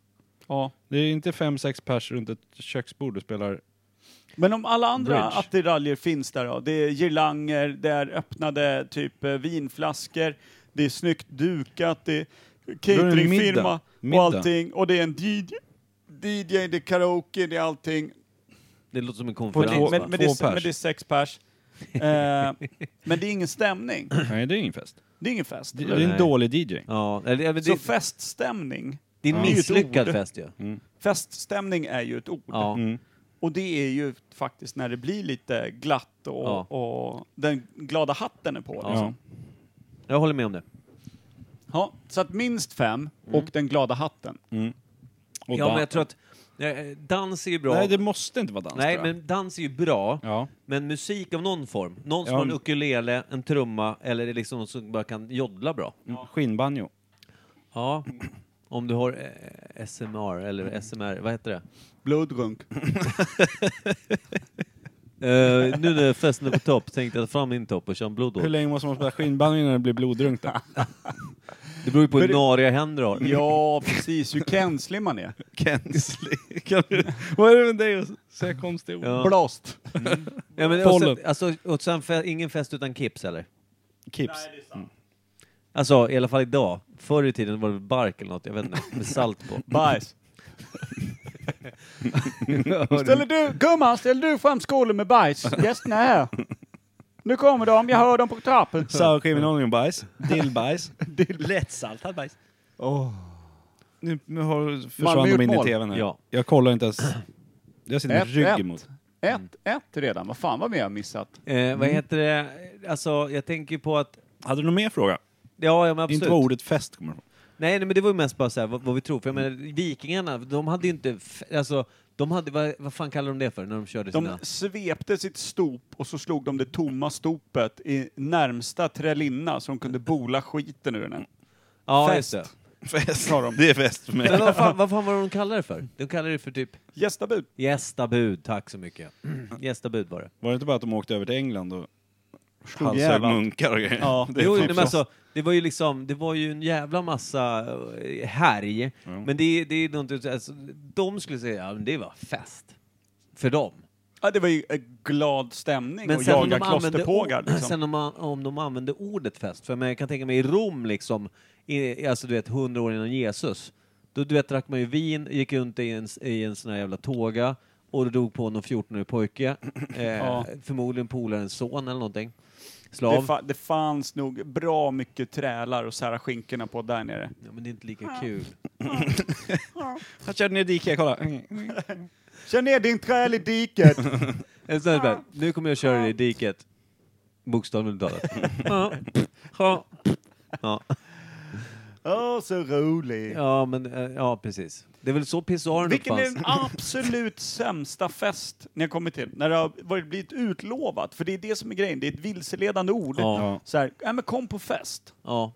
Ja. Det är inte fem, sex pers runt ett köksbord och spelar... Men om alla andra Bridge. attiraljer finns där då? Det är girlanger, det är öppnade typ eh, vinflaskor, det är snyggt dukat, det är cateringfirma middag. och Middag. allting. Och det är en DJ, DJ, det är karaoke, det är allting. Det låter som en Men, konferens. det, två- men, men, det, två är, pers. men det är sex pers. Eh, men det är ingen stämning. Nej, det är ingen fest. Det är ingen fest. Det, det är en Nej. dålig DJ. Ja, eller, eller, Så det, feststämning, det är en det är ju ett misslyckad Mm. ord. fest ju. feststämning är ju ett ord. Ja. Och det är ju faktiskt när det blir lite glatt och, Ja. och den glada hatten är på. Ja. Liksom. Jag håller med om det. Ja, så att minst fem och den glada hatten. Och ja, dan- men jag tror att eh, dans är ju bra. Nej, det måste inte vara dans Nej, tror jag. men dans är ju bra. Ja. Men musik av någon form. Någon som Ja. har en ukulele, en trumma eller det är liksom någon som bara kan joddla bra. Skinnbanjo. Ja. Om du har eh, SMR eller SMR, vad heter det? Blodrunk. Eh, nu när festen är på topp tänkte jag ta fram min topp och köra en blodår. Hur länge måste man spela skinnbanjo innan det blir blodrunk då? Det beror ju på hur Men det- nariga händer du har. Ja, precis. Hur känslig man är. Kensli. Kan du- Vad är det med dig att säga konstiga ord? Ja. Blast. Ja, men, och sen, Pollen. alltså, och sen fe, ingen fest utan kips eller? Kips. Alltså i alla fall idag. Förr i tiden var det bark eller något, jag vet inte, med salt på. Bajs. ställer du, gumman, ställer du fram skålen med bajs? Gästerna är här. Nu kommer de, jag hör dem på trappen. Sourcream and onionbajs. Dillbajs. Lättsaltad bajs. Nu, nu har, försvann Malmö gjort de in i mål. tvn här. Ja. Jag kollar inte ens. Jag sitter med Ett, ett. rygg emot. Mm. Ett, ett redan. Vad fan var det jag missat? Eh, Mm. vad heter det, alltså jag tänker på att, Hade du någon mer fråga? ja, ja men Inte vad absolut. ordet fest kommer ifrån. Nej, nej men det var ju mest bara så här, vad, vad vi tror, för jag menar vikingarna, de hade ju inte, f- alltså de hade, vad, vad fan kallar de det för när de körde De sina? svepte sitt stop och så slog de det tomma stopet i närmsta trälinna så de kunde bola skiten ur den. Ja, fest. just det. Fest. Sa de. Det är fest för mig. Men vad fan, vad fan var det de kallade det för? De kallade det för typ Gästabud. gästabud, tack så mycket. gästabud var det. Var det inte bara att de åkte över till England och Slog halshögg ihjäl allt. munkar och grejer? Ja. Det är jo, typ nej, men så. alltså, det var ju liksom, det var ju en jävla massa eh, härj. Men det, det är någonting, alltså, de skulle säga, ja men det var fest. För dem. Ja, det var ju en glad stämning Men och om jaga de använde klosterpågar. ord- Liksom. Sen om, man, om de använde ordet fest, för men jag kan tänka mig i Rom liksom, i, alltså du vet hundra år innan Jesus, då du vet drack man ju vin, gick runt i en, i en sån här jävla tåga och drog på någon 14-årig pojke, eh, Ja. förmodligen polarens son eller någonting, det, slav. fa- det fanns nog bra mycket trälar och sära skinkorna på där nere. Ja, men det är inte lika kul. Jag körde ner i diket, kolla. Mm. Känn ner din träl i diket! En sån här, bara, nu kommer jag köra dig i diket. Bokstavligt talat. Ja. Ja. Ja. Åh, så rolig! ja, men eh, ja, precis. Det är väl så pissoaren Vilken är uppfanns. den absolut sämsta fest ni har kommit till? När det har varit, blivit utlovat, för det är det som är grejen, det är ett vilseledande ord. Ja. Så här, ja, men kom på fest. Ja.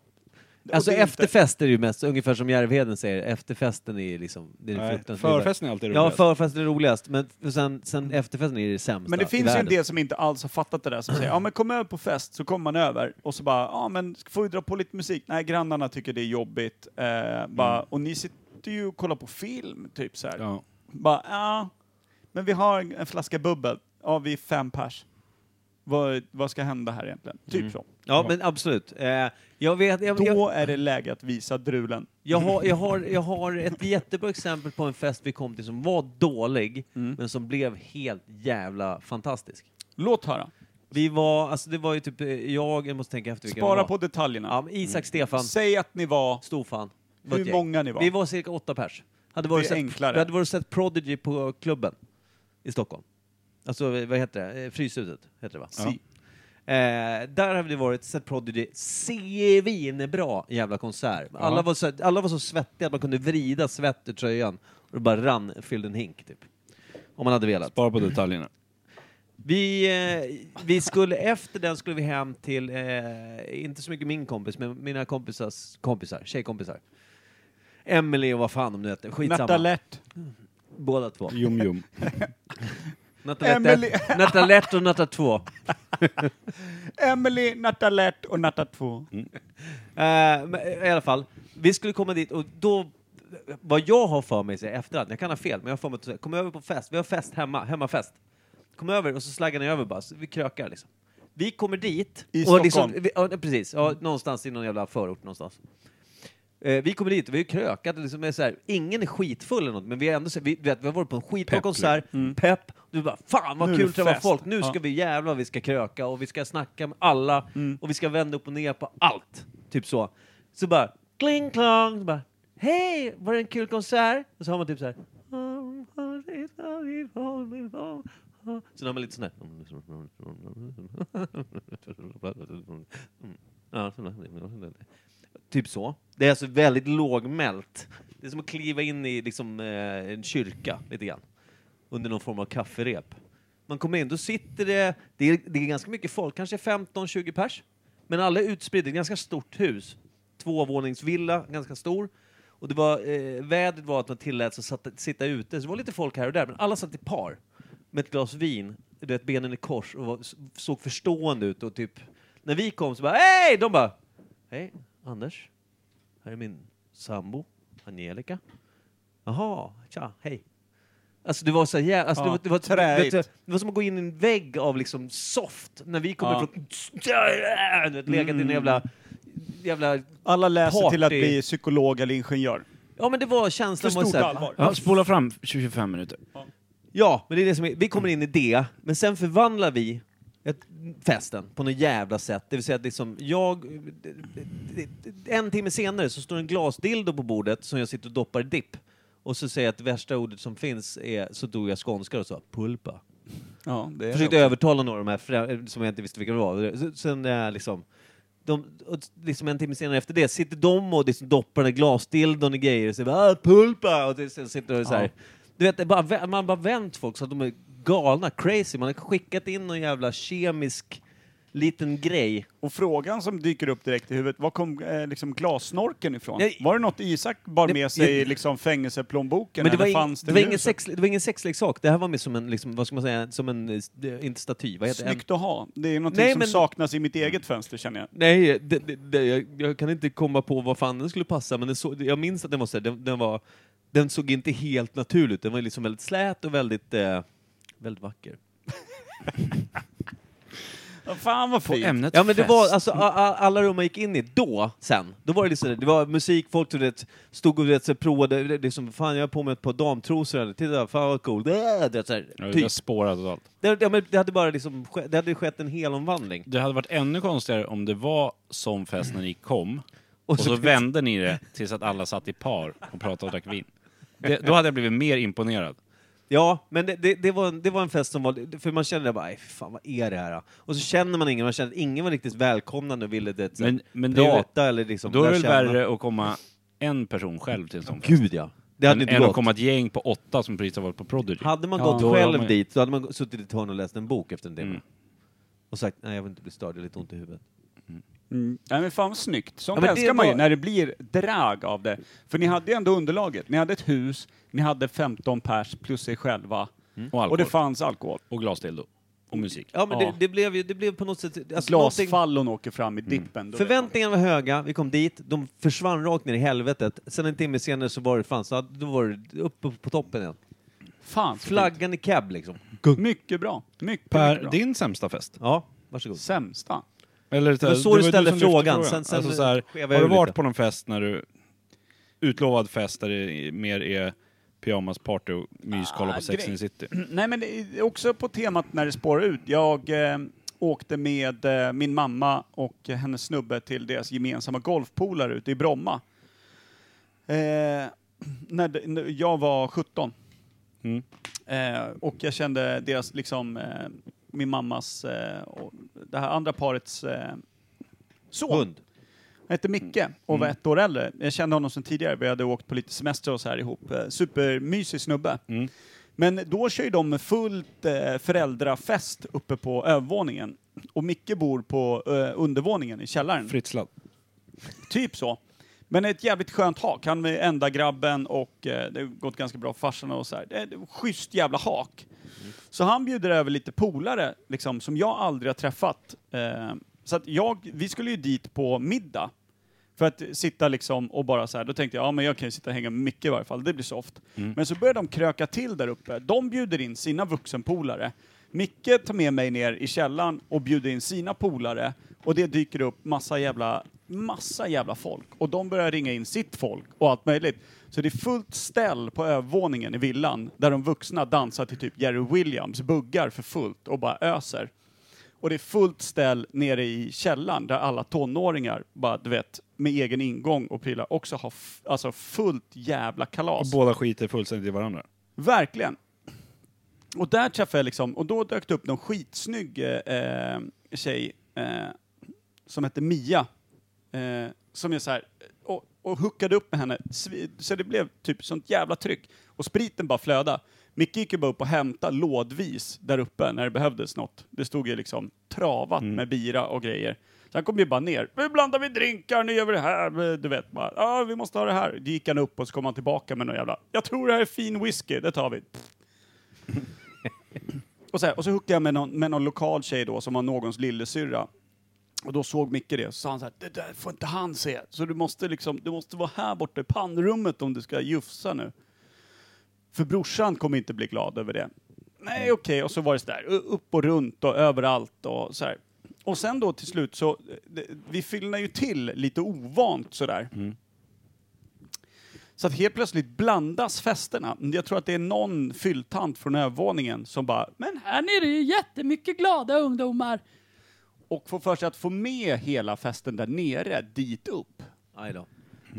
Och Alltså det är efterfester är ju mest, ungefär som Järvheden säger, efterfesten är liksom... Det är det Nej, fruktansvärda. Förfesten är alltid Ja, roligast. förfesten är roligast, men f- sen, sen efterfesten är det sämsta Men det i finns ju en världen. del som inte alls har fattat det där som säger ja men kom över på fest så kommer man över och så bara ja men får vi dra på lite musik? Nej grannarna tycker det är jobbigt. Eh, bara, Och ni sit- sitter ju och kollar på film, typ så här. Ja. Bara, ja, men vi har en flaska bubbel. Ja, vi är fem pers. Vad, vad ska hända här egentligen? Typ så. Ja, men absolut. Eh, jag vet... Jag, jag, Då är det läge att visa drulen. jag, har, jag, har, jag har ett jättebra exempel på en fest vi kom till som var dålig, Mm. men som blev helt jävla fantastisk. Låt höra. Vi var, alltså det var ju typ eh, jag, jag måste tänka efter vilka Spara det var. på detaljerna. Ja, men Isak, Stefan, Säg att ni var... Storfan. Det var Hur ett gäng. många ni var? Vi var cirka åtta pers. Hade varit Det är sett, enklare. Vi hade varit och sett Prodigy på klubben i Stockholm. Alltså, vad heter det? Eh, Fryshuset heter det va? Si. Eh, där hade vi varit, sett Prodigy, svinbra jävla konsert. Alla var, så, alla var så svettiga att man kunde vrida svett ur tröjan och det bara rann, fyllde en hink typ. Om man hade velat. Spara på detaljerna. Vi, eh, vi skulle, efter den skulle vi hem till, eh, inte så mycket min kompis, men mina kompisars kompisar, tjejkompisar. Emelie och vad fan om nu hette, skitsamma. Nattalett. Båda två. Jum, jum. Emily. Nattalett och Natta 2. Emily, Nattalett och Natta 2. Mm. Eh, men I alla fall, vi skulle komma dit och då, vad jag har för mig så här i efterhand, jag kan ha fel, men jag har för mig att kom över på fest, vi har fest hemma, hemmafest. Kom över och så slaggar ni över bara, så vi krökar liksom. Vi kommer dit. I och liksom, Stockholm? vi, ja, precis, ja, någonstans i någon jävla förort någonstans. Eh, vi kommer dit och vi har krökat och liksom är så här, ingen är skitfull eller något, men vi är ändå så, vi, vet, vi har varit på en skitbra Pepp, konsert, liksom. Mm. pepp, och du bara fan vad Nu är kul det att träffa fest. folk, nu ska Ja. vi jävlar vi ska kröka och vi ska snacka med alla Mm. och vi ska vända upp och ner på allt. Typ så. Så bara kling klong, så bara hej, var det en kul konsert? Och så har man typ så här. Sen har man lite sån här. Ja, Typ så. Det är alltså väldigt lågmält. Det är som att kliva in i liksom, eh, en kyrka lite grann. Under någon form av kafferep. Man kommer in, då sitter det, det är, det är ganska mycket folk, kanske 15-20 pers. Men alla är utspridda, det är ett ganska stort hus. Tvåvåningsvilla, ganska stor. Och det var, eh, vädret var att man tilläts att satt- sitta ute, så det var lite folk här och där, men alla satt i par. Med ett glas vin, du vet, benen i kors och var, såg förstående ut och typ, när vi kom så bara hej! De bara, hej Anders, här är min sambo Angelica. Jaha, tja, hej. Alltså det var så jävla... Alltså, det, Ja, var, det, var, träigt. vet du, det var som att gå in i en vägg av liksom soft, när vi kommer Ja. Mm. från... Du vet, legat i en jävla... jävla Alla läser till att Party. bli psykolog eller ingenjör. ja men det var känslan... För var så stort här- allvar. Ja, spola fram 25 minuter. Ja, men det är det som är, vi kommer in i det, men sen förvandlar vi ett, festen på något jävla sätt. Det vill säga att liksom jag... En timme senare så står en glasdildo på bordet som jag sitter och doppar i dipp. Och så säger jag att det värsta ordet som finns är, så tog jag skånska och sa pulpa. Ja, det är Försökte övertala några av de här frä- eh, som jag inte visste vilka det var. Så- Sen eh, liksom, de, och liksom en timme senare efter det sitter de och liksom doppar den här glasdildon i grejer och säger bara, "Ah, pulpa och det, sen sitter de så här. Du vet, det är bara, vä- man har bara vänt folk så att de är galna, crazy. Man har skickat in någon jävla kemisk liten grej. Och frågan som dyker upp direkt i huvudet, var kom eh, liksom glassnorken ifrån? Nej. Var det något Isak bar Nej, med sig i jag- liksom fängelseplånboken? Men det var, eller ing, fanns det, det var i ingen huset? sex, det var ingen sexleksak. Det här var mer som en, liksom, vad ska man säga, som en, eh, s- eh, inte staty, vad heter det? En- Snyggt att ha. Det är någonting Nej, som men- saknas i mitt eget fönster känner jag. Nej, det, det, det, jag, jag kan inte komma på vad fan den skulle passa, men den så, jag minns att den var så här, den, den var... Den såg inte helt naturlig ut, den var liksom väldigt slät och väldigt, eh, väldigt vacker. Ja, Fan vad På fint. ämnet Ja men det var, fest. alltså a, a, alla rum man gick in i då, sen, då var det liksom, det var musik, folk du vet, stod och du vet, så här, provade, det- liksom, fan jag har på mig ett par damtrosor, eller titta fan vad coolt, äh, du vet, så här, Ja, det typ. där spårar totalt. Det, ja, men det hade bara liksom, ske- det hade skett en hel omvandling. Det hade varit ännu konstigare om det var som fest när ni kom och så, så- vände ni det tills att alla satt i par och pratade och drack vin. Det, då hade jag blivit mer imponerad. Ja, men det, det, det, var en, det var en fest som var... För man kände bara, "Aj, fy fan vad är det här? då?" Och så känner man ingen, man känner att ingen var riktigt välkomnande och ville det, Men- men det är ju- prata eller liksom... Då är det väl lära känna. värre att komma en person själv till en sån fest. Gud ja! Det hade än, inte än att gått. komma ett gäng på åtta som precis har varit på Prodigy. Hade man Ja. gått Då själv har man- dit så hade man suttit i ett hörn och läst en bok efter en timme. Mm. Och sagt, nej jag vill inte bli störd, jag har lite ont i huvudet. Mm. Nej men fan vad snyggt. Sånt Ja, men det älskar man ju, var- när det blir drag av det. För ni hade ju ändå underlaget. Ni hade ett hus, ni hade 15 pers plus er själva. Och Och Mm. alkohol. det fanns alkohol. Och glasdildo. och musik. Ja, men Ja. Det, det, blev ju, det blev på något sätt... Alltså någonting- Glasfallon åker fram i dippen. då vet Förväntningarna var höga, vi kom dit, de försvann rakt ner i helvetet. Sen en timme senare så var det fan, så då var det uppe på toppen igen. man. Fan, så fint. Flaggan i cab liksom. Mycket bra. Mycket, mycket Per, bra. din sämsta fest? Ja, varsågod. Sämsta. Eller var så det du var ställde som lyfte frågan. Sen- sen alltså, så här, skevade har du jag ur varit lite. på någon fest när du... Utlovad fest där det mer är pyjamasparty och mys, kolla på Ah, Sex grej. and the City? Nej, men det är också på temat när det spårar ut. Jag eh, åkte med eh, min mamma och hennes snubbe till deras gemensamma golfpolare ute i Bromma. Eh, när, d- när jag var 17. Mm. Eh, och jag kände deras, liksom, eh, min mammas eh, och det här andra parets eh, son. Hund. Han hette Micke och var ett år äldre. Jag kände honom sedan tidigare, vi hade åkt på lite semester och så här ihop. Eh, Supermysig snubbe. Men då kör ju de med fullt eh, föräldrafest uppe på övervåningen. Och Micke bor på eh, undervåningen i källaren. Fritzlad. Typ så. Men ett jävligt skönt hak. Han är enda grabben och eh, det har gått ganska bra för farsan och så här. Det är ett schysst jävla hak. Så han bjuder över lite polare, liksom, som jag aldrig har träffat. Eh, så att jag, vi skulle ju dit på middag. För att sitta liksom och bara så här, då tänkte jag, ja men jag kan ju sitta och hänga med Micke i varje fall, det blir soft. Men så börjar de kröka till där uppe. De bjuder in sina vuxenpolare. Micke tar med mig ner i källaren och bjuder in sina polare. Och det dyker upp massa jävla, massa jävla folk. Och de börjar ringa in sitt folk och allt möjligt. Så det är fullt ställ på övervåningen i villan där de vuxna dansar till typ Jerry Williams, buggar för fullt och bara öser. Och det är fullt ställ nere i källaren där alla tonåringar, bara, du vet, med egen ingång och prylar, också har f- alltså fullt jävla Och kalas. båda skiter fullständigt i varandra. Verkligen. Och där träffade jag liksom, och då dök det upp någon skitsnygg eh, eh, tjej eh, som hette Mia. Eh, som är så här, och, och hookade upp med henne. Svi- Så det blev typ sånt jävla tryck. Och spriten bara flöda. Micke gick ju bara upp och hämtade lådvis där uppe när det behövdes något. Det stod ju liksom travat med bira och grejer. Så han kom ju bara ner. Nu blandar vi drinkar, nu gör vi det här. eh, Du vet bara, ja vi måste ha det här. Då gick han upp och så kom han tillbaka med någon jävla, jag tror det här är fin whisky, det tar vi. Och så, här, och så hookade jag med någon, med någon lokal tjej då som var någons lillasyrra. Och då såg Micke det, så sa han så här, det där får inte han se. Så du måste liksom, du måste vara här borta i pannrummet om du ska jufsa nu. För brorsan kommer inte bli glad över det. Nej, okej, och så var det så där, u- upp och runt och överallt och så här. Och sen då till slut så, eh, det- vi fyllde ju till lite ovant sådär. Så att helt plötsligt blandas festerna. Jag tror att det är någon fylltant från övervåningen som bara, men här nere är ju jättemycket glada ungdomar. Och får för sig att få med hela festen där nere dit upp. Aj då.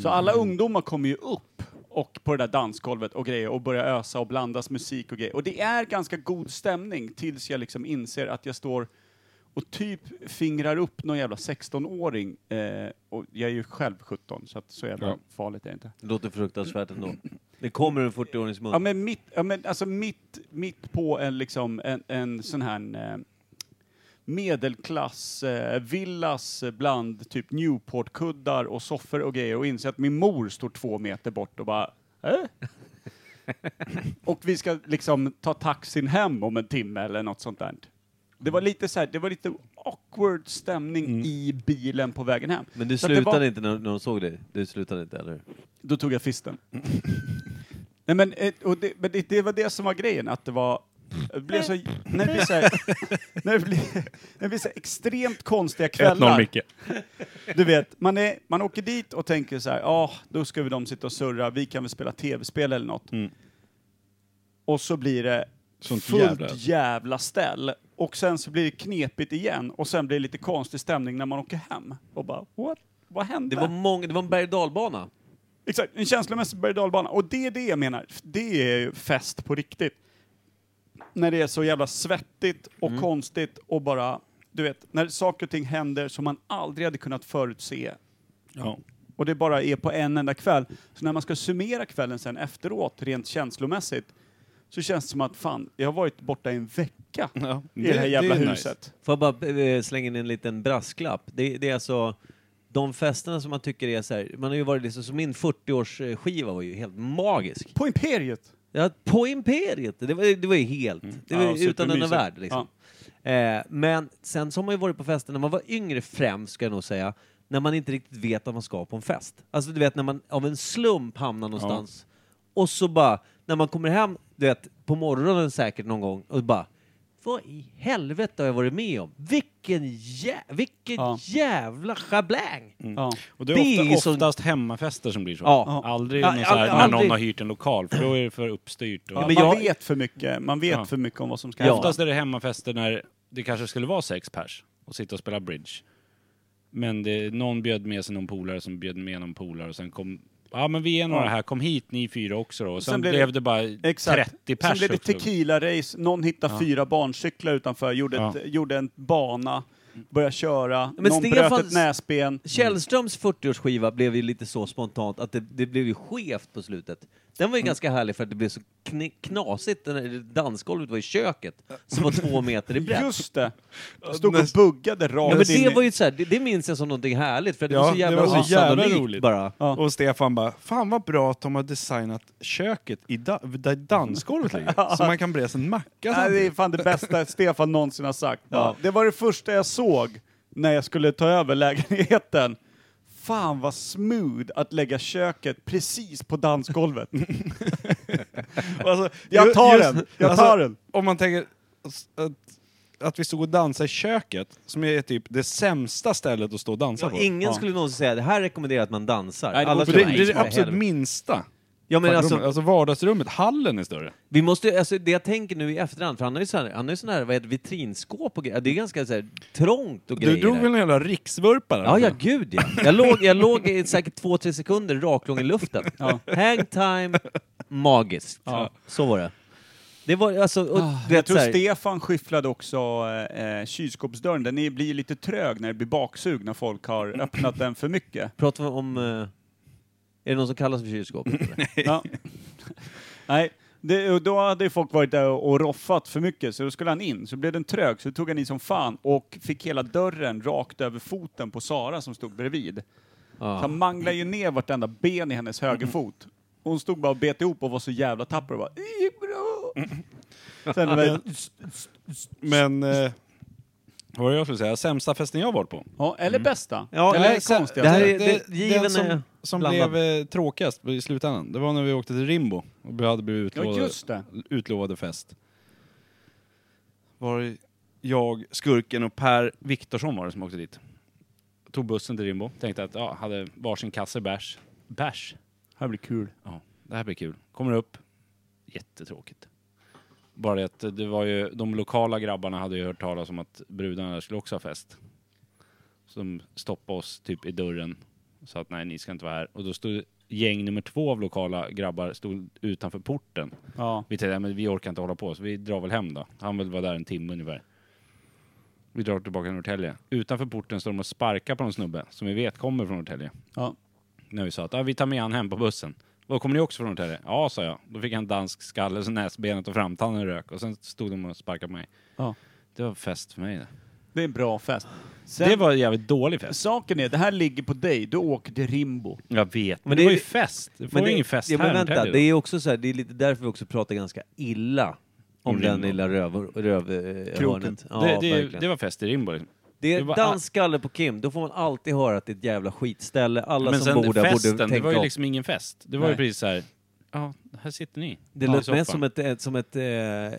Så alla ungdomar kommer ju upp och på det där dansgolvet och grejer och börjar ösa och blandas musik och grejer. Och det är ganska god stämning tills jag liksom inser att jag står och typ fingrar upp någon jävla 16-åring. Eh, och jag är ju själv 17 så att så jävla Ja. farligt är det inte. Det låter fruktansvärt ändå. Det kommer en 40-årings mun. Ja men mitt, ja, men alltså mitt, mitt på en, liksom, en, en sån här eh, medelklass eh, villas bland typ Newport-kuddar och soffor och grejer och inser att min mor står två meter bort och bara äh? Och vi ska liksom ta taxin hem om en timme eller något sånt där. Det var lite så här, det var lite awkward stämning i bilen på vägen hem. Mm. Men du Så att det slutade var- inte när, när de såg dig? Du slutade inte, eller hur? då tog jag fisten. Nej, men eh, och det, men det, det var det som var grejen, att det var... Det blev så, när det blir så, här, när det blir, när det blir så här extremt konstiga 1-0 kvällar. Micke. Du vet, man, är, man åker dit och tänker så här, ja, då ska vi de sitta och surra, vi kan väl spela tv-spel eller något. Och så blir det Mm. Sånt fullt jävla- jävla. ställ. Och sen så blir det knepigt igen och sen blir det lite konstig stämning när man åker hem. Och bara, what? Vad hände? Det var, många, det var en berg och dalbana. Exakt, en känslomässig berg och dalbana. Och det är det jag menar, det är ju fest på riktigt. När det är så jävla svettigt och konstigt och bara, du vet, när saker och ting händer som man aldrig hade kunnat förutse. Ja. Och det bara är på en enda kväll. Så när man ska summera kvällen sen efteråt, rent känslomässigt, så känns det som att fan, jag har varit borta i en vecka Ja, i det- det här det jävla är nice. huset. Får jag bara eh, slänga in en liten brasklapp? Det, det är alltså de festerna som man tycker är så här, man har ju varit liksom, som min 40-årsskiva var ju helt magisk. På Imperiet! Ja, på Imperiet! Det var, det var ju helt, det var Mm. Ja, ju utan denna supermysigt. värld liksom. Eh, men sen så har man ju varit på fester när man var yngre främst, ska jag nog säga, när man inte riktigt vet att man ska på en fest. Alltså du vet när man av en slump hamnar någonstans och så bara, när man kommer hem, du vet, på morgonen säkert någon gång och bara vad i helvete har jag varit med om? Vilken, jä- vilken Ja. Mm. jävla schabläng! Ja. Och det Det är, är ofta, ju som- oftast hemmafester som blir så. Ja. Aldrig Ja, någon så här, aldrig- när aldrig. någon har hyrt en lokal, för då är det för uppstyrt. Och Ja, men man jag- vet för mycket, man vet Ja. för mycket om vad som ska Ja. hända. Oftast är det hemmafester när det kanske skulle vara sex pers och sitta och spela bridge. Men det, någon bjöd med sig någon polare som bjöd med någon polare och sen kom... Ja men vi är några Ja. här, kom hit ni fyra också då. Och sen, Sen blev blev det, bara 30 pers. Sen blev det upp till- tequila-race, någon hittade fyra barncyklar utanför, gjorde, ett, gjorde en bana, började köra, Men någon Stefan- bröt ett näsben. Källströms 40-årsskiva blev ju lite så spontant att det, det blev ju skevt på slutet. Den var Mm. ju ganska härlig för att det blev så kn- knasigt. Den där dansgolvet var i köket som var två meter i brett. Just det! Stod och buggade ja, rakt men in det, var ju så här, det, det minns jag som någonting härligt för det Ja, var så det jävla var så jävla osannolikt roligt. bara. Ja. Och Stefan bara, fan vad bra att de har designat köket i da- där dansgolvet ligger. Så man kan breda en macka Nej, det är samtidigt. fan det bästa Stefan någonsin har sagt. Ja. Det var det första jag såg när jag skulle ta över lägenheten. Fan vad smooth att lägga köket precis på dansgolvet. Alltså, Jag ju- tar den. Jag alltså, tar den. Om man tänker s- att, att vi stod och dansade i köket, som är typ det sämsta stället att stå och dansa Ja, på. ingen Ja. skulle någonsin säga det här rekommenderar att man dansar. Nej, det Alla borde- För skulle det, bara, det "Nej, är det för absolut helvete." minsta. Ja, men alltså, alltså, alltså vardagsrummet, hallen är större. Vi måste, ju- alltså, det jag tänker nu i efterhand, för han har ju sån här, han har ju sån här vad heter, det, vitrinskåp och grejer. Det är ganska så här, trångt och Du grejer. drog där. väl en jävla riksvurpa där? Ja, ja, gud ja. Jag låg, jag låg i säkert två, tre sekunder raklång i luften. Hang time, magiskt. Så var det. Det var alltså... Och, Ah, du Jag vet, tror så här, Stefan skyfflade också eh, kylskåpsdörren. Den är- blir ju lite trög när det blir baksug när folk har öppnat den för mycket. pratar vi om... eh, är det någon som kallas för kylskåpet? eller? Ja. Nej, det, och då hade ju folk varit där och och roffat för mycket, så då skulle han in. Så blev den trög, så tog han in som fan och fick hela dörren rakt över foten på Sara som stod bredvid. Så ja. han manglade ju ner vartenda ben i hennes högerfot. Hon stod bara och bet ihop och var så jävla tapper och bara "Det gick bra." Sen var det, Men... Eh, vad var det jag skulle säga? Sämsta festen jag varit på? ja, eller bästa. Ja, eller nej, det sä- konstigaste. alltså. det här är- given är den som, som blandad. blev eh, tråkigast i slutändan, det var när vi åkte till Rimbo och vi hade blivit Ja, utlovade, just det. utlovade fest. Var jag, Skurken och Per Viktorsson var det som åkte dit. Tog bussen till Rimbo, tänkte att ja, hade varsin kasse bärs. Bärs? här blir kul. Ja, det här blir kul. Kommer upp. Jättetråkigt. Bara det att det var ju, de lokala grabbarna hade ju hört talas om att brudarna där skulle också ha fest. Så de stoppade oss typ i dörren. och Sa att nej, ni ska inte vara här. Och då stod gäng nummer två av lokala grabbar stod utanför porten. Ja. Vi tänkte, "Nej, men vi orkar inte hålla på, så vi drar väl hem då. Han vill vara där en timme ungefär. Vi drar tillbaka till Norrtälje. Utanför porten står de och sparkar på någon snubbe som vi vet kommer från Norrtälje Ja. när vi sa att ah, vi tar med han hem på bussen. Och kommer ni också från Norrtälje? Ja, sa jag. Då fick han dansk skalle så näsbenet och framtannen rök och sen stod de och sparkade på mig. Ja. Det var fest för mig det. Det är en bra fest. Sen, det var en jävligt dålig fest. Saken är, det här ligger på dig. Du åker till Rimbo. Jag vet, men, Men det, det- var ju fest. Det får ju ingen fest ja, här men i vänta, Norrtälje det då. är också så här, det är lite därför vi också pratar ganska illa om Om den Rimbo. lilla röv, röv, eh, Kroken. hörnet. Ja, det, det, verkligen. det var fest i Rimbo. liksom. Det Det är var- dansskalle på Kim, då får man alltid höra att det är ett jävla skitställe. Alla Men som sen bor där festen, borde det tänka var ju om. liksom ingen fest. Det var ju Nej. precis så här. ja, här sitter ni. Det Ja, lät i mest soffan. som ett, ett, som ett eh,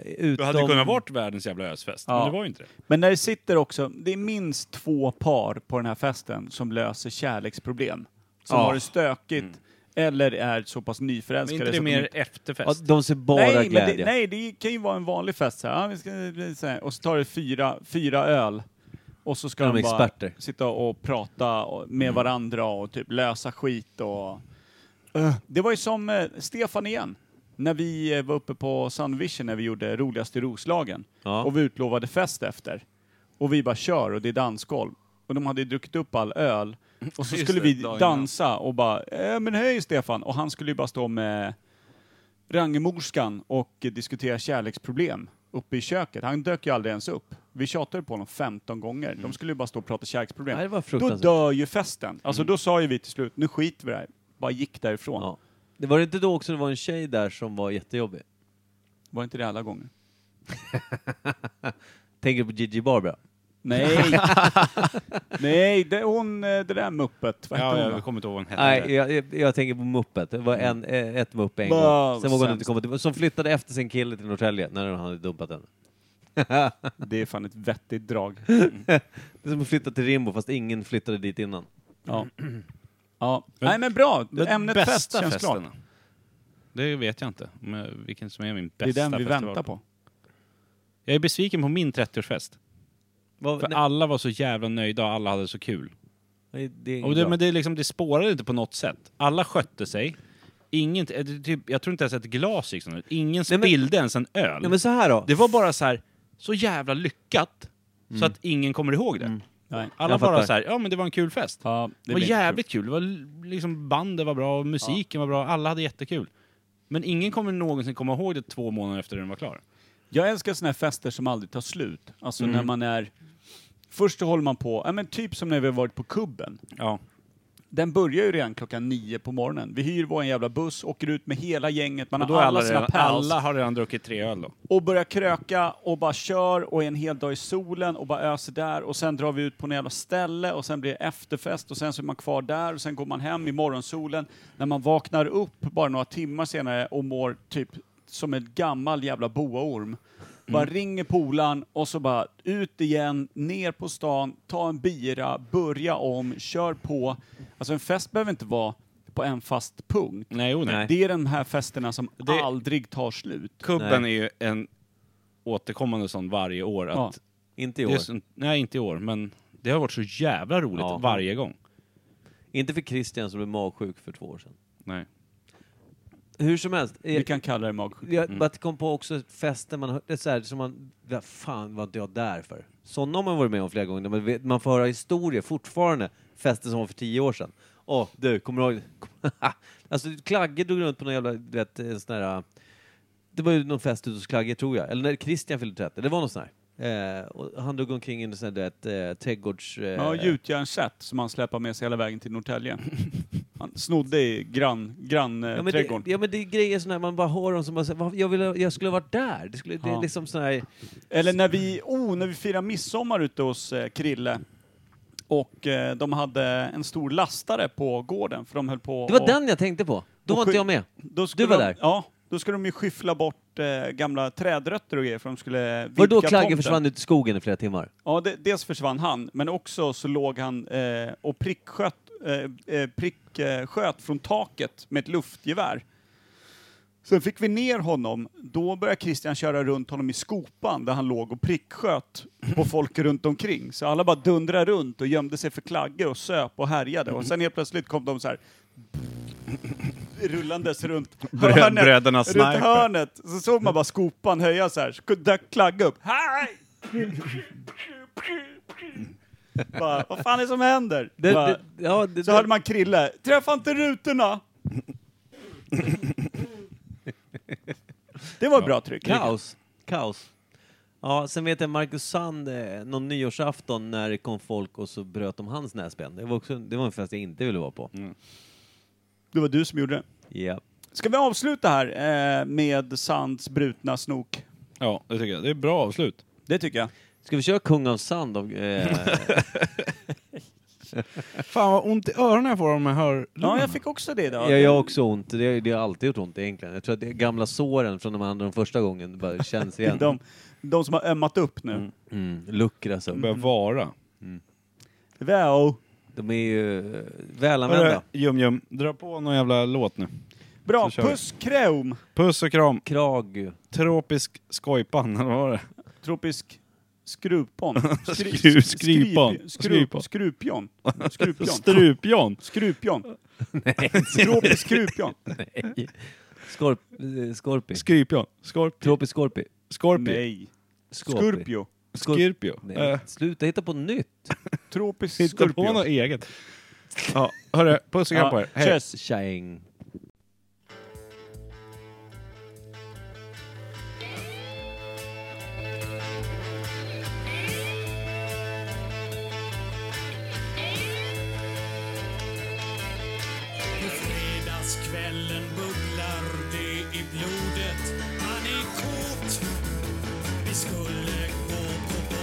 utom... Det hade kunnat varit världens jävla ösfest, Ja. men det var ju inte det. Men när det sitter också, det är minst två par på den här festen som löser kärleksproblem. Som Ja. har det stökigt eller är så pass Mm. Men nyförälskade. inte det så att de mer inte- Ja, efterfest? de ser bara nej, men glädje. det, nej, det kan ju vara en vanlig fest så här. Ja, vi ska, bli så här. Och så tar det fyra, fyra öl. Och så ska Ja, de, de är bara experter. Mm. sitta och prata och- med varandra och typ lösa skit och... Det var ju som eh, Stefan igen. När vi eh, var uppe på Sunvision när vi gjorde Roligast i Roslagen. Ja. Och vi utlovade fest efter. Och vi bara kör och det är dansgolv. Och de hade ju druckit upp all öl. Och så Just skulle det, vi dagen innan. dansa och bara eh, men hej Stefan! Och han skulle ju bara stå med Rangemorskan och eh, diskutera kärleksproblem uppe i köket. Han dök ju aldrig ens upp. Vi tjatade på honom 15 gånger. Mm. De skulle ju bara stå och prata kärleksproblem. Nej, det var då fruktansvärt. dör ju festen. Mm. Alltså då sa ju vi till slut, nu skiter vi i det här. Bara gick därifrån. Ja. Det var det inte då också det var en tjej där som var jättejobbig? Var inte det alla gånger? Tänker på Gigi Barbara. Nej. Nej, det, hon, eh, det där muppet. Vad Ja, hette jag hon? då? kommer inte ihåg vad den Nej, hette. jag, jag, jag tänker på Muppet. Det var en, Mm. eh, ett Mupp en Wow, gång. Sen vågade hon inte sämst. komma tillbaka. Som flyttade efter sin kille till Norrtälje när han hade dumpat henne. Det är fan ett vettigt drag. Det är som att flytta till Rimbo fast ingen flyttade dit innan. Ja. ja. Nej men bra, ämnet Bästa fest känns festen klart. då? Det vet jag inte. Men vilken som är min bästa Det är den vi festival. väntar på. Jag är besviken på min 30-årsfest. Vad- För nej, alla var så jävla nöjda och alla hade så kul. nej, det är inget Och det, bra. men det, är liksom, det spårade inte på något sätt. Alla skötte sig. Ingen, eh, det- typ, jag tror inte ens ett glas gick sönder. Ingen Nej, men- spillde ens en öl. Nej, men så här då. Det var bara så här, så jävla lyckat så att ingen kommer ihåg det. Nej. Alla jag bara fattar. så här, ja men det var en kul fest. Ja, det, det var blir inte jävligt kul. Det var l- liksom bandet var bra, och musiken var bra, alla hade jättekul. Men ingen kommer någonsin komma ihåg det två månader efter den var klar. Jag älskar såna här fester som aldrig tar slut. Alltså Mm. när man är... Först så håller man på, ja, men typ som när vi har varit på kubben. Ja. Den börjar ju redan klockan nio på morgonen. Vi hyr vår jävla buss, åker ut med hela gänget, man Och då har har alla, alla, sina redan, pals. alla har redan druckit tre öl då. Och börjar kröka och bara kör och är en hel dag i solen och bara öser där. Och sen drar vi ut på något jävla ställe och sen blir det efterfest och sen så är man kvar där och sen går man hem i morgonsolen. När man vaknar upp bara några timmar senare och mår typ som en gammal jävla boaorm. Bara Mm. ringer polaren och så bara ut igen, ner på stan, ta en bira, börja om, kör på. Alltså en fest behöver inte vara på en fast punkt. Nej, jo, nej. Nej. Det är de här festerna som Det- aldrig tar slut. Kubben Nej. är ju en återkommande sån varje år. Att Ja. Inte i det är år. sån, nej, inte i år, men det har varit så jävla roligt Ja. varje gång. Inte för Christian som blev magsjuk för två år sedan. Nej. Hur som helst. eh, Vi kan kalla det magsjuka. Jag bara kom på också festen man hör- det är så här, som man, vad fan var inte jag där för? Sådana har man varit med om flera gånger, man, vet, man får höra historier fortfarande, fester som var för tio år sedan. Åh, du, kommer du ihåg? alltså, Klagge drog runt på någon jävla, du vet, en sån här, äh, det var ju någon fest ute hos Klagge tror jag, eller när Christian fyllde 30, det var någon sån här. Eh, och han drog omkring i en sån här, du vet, eh, trädgårds... Eh, Ja, gjutjärnsset som han släpar med sig hela vägen till Norrtälje. Han snodde i grann, grann, eh, Ja men, det, trädgården. ja men det är grejer sådana här, man bara hör dem som man säger, "Vad- jag, ville, jag skulle ha varit där. Det, skulle, det Ja. är liksom sån här, Eller när vi, oh, när vi firade midsommar ute hos eh, Krille. Och eh, de hade en stor lastare på gården för de höll på det var och, den jag tänkte på. Då och var inte sky- jag med. Då skulle var de, där. Ja, då skulle de ju skyffla bort eh, gamla trädrötter och grejer för de skulle Var det då vidga Klagge tomten. försvann ut i skogen i flera timmar? Ja, det, dels försvann han, men också så låg han eh, och pricksköt, eh, eh, prick, eh, sköt från taket med ett luftgevär. Sen fick vi ner honom. Då började Christian köra runt honom i skopan där han låg och pricksköt på folk runt omkring. Så alla bara dundrade runt och gömde sig för Klagge och söp och härjade. Och sen helt plötsligt kom de så här rullandes runt Brö- hörnet. bröderna runt Sniper. hörnet. Så såg man bara skopan höja så här. Så dök Klagge upp. Hej! Bara, vad fan är det som händer? Det, bara, det, ja, det, så hörde man Krille, träffa inte rutorna! det var ett bra tryck. kaos. Kaos. Ja, sen vet jag Marcus Sand, eh, någon nyårsafton när det kom folk och så bröt de hans näsben. Det var, också, det var en fest jag inte ville vara på. Det var du som gjorde det. Ja. Ska vi avsluta här eh, med Sands brutna snok? Ja, det tycker jag. Det är ett bra avslut. Det tycker jag. Ska vi köra Kung av Sand? Om, eh, Fan vad ont i öronen jag får om jag hör Mm. Ja, jag fick också det idag. Ja, jag har också ont. Det, det har alltid gjort ont egentligen. Jag tror att det är gamla såren från när man hade dem första gången bara känns igen. de, de som har ömmat upp nu. Mm, luckras upp. börjar vara. Wow. De är ju eh, Hörru, välanvända. Jum Jum, dra på någon jävla låt nu. Bra, Så kör vi. puss kräm! Puss och kram. Krag. Tropisk skojpan, eller vad var det? Tropisk skrupon. Skri- Skru- skri- skripon. skrup- Skripon. Skrupjon. Skrupjon. Strupjon. Skrupjon. Tropisk skrupjon. Skorp, eh, skorpi. Skrypjon. Skorp. Tropisk skorpi. Skorpio. Nej. Skorpi. Skurpio. Skorp- Skirpio. Nej, Eh, sluta hitta på nytt. Tropisk Hitta på något skorpion. eget. Ja, hörru, puss och kram på er. Hej. tjöss. Tjäng. På fredagskvällen bubblar det i blodet. Man är kåt. Vi skulle gå på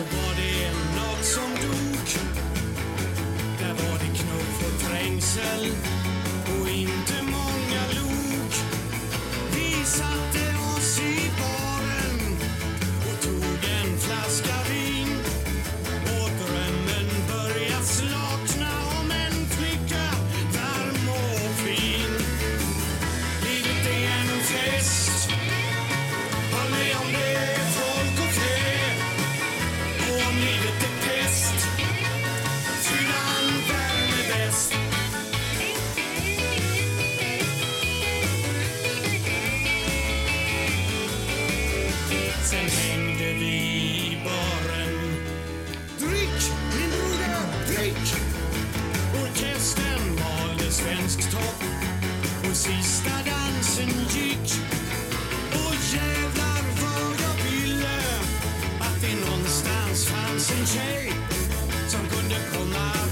var det något som dog. Där var det knuff och trängsel och inte många lok. Vi satte oss i baren och tog en flaska vin. Och drömmen började slockna om en flicka varm och fin. Livet är en fest Håll med om det, folk och fä Och om livet är pest Fyll all värme bäst Sen hängde vi i baren Drick, min broder, drick! Orkestern valde svensk topp och sista dansen gick och jävlar vad jag ville att det någonstans fanns en tjej som kunde komma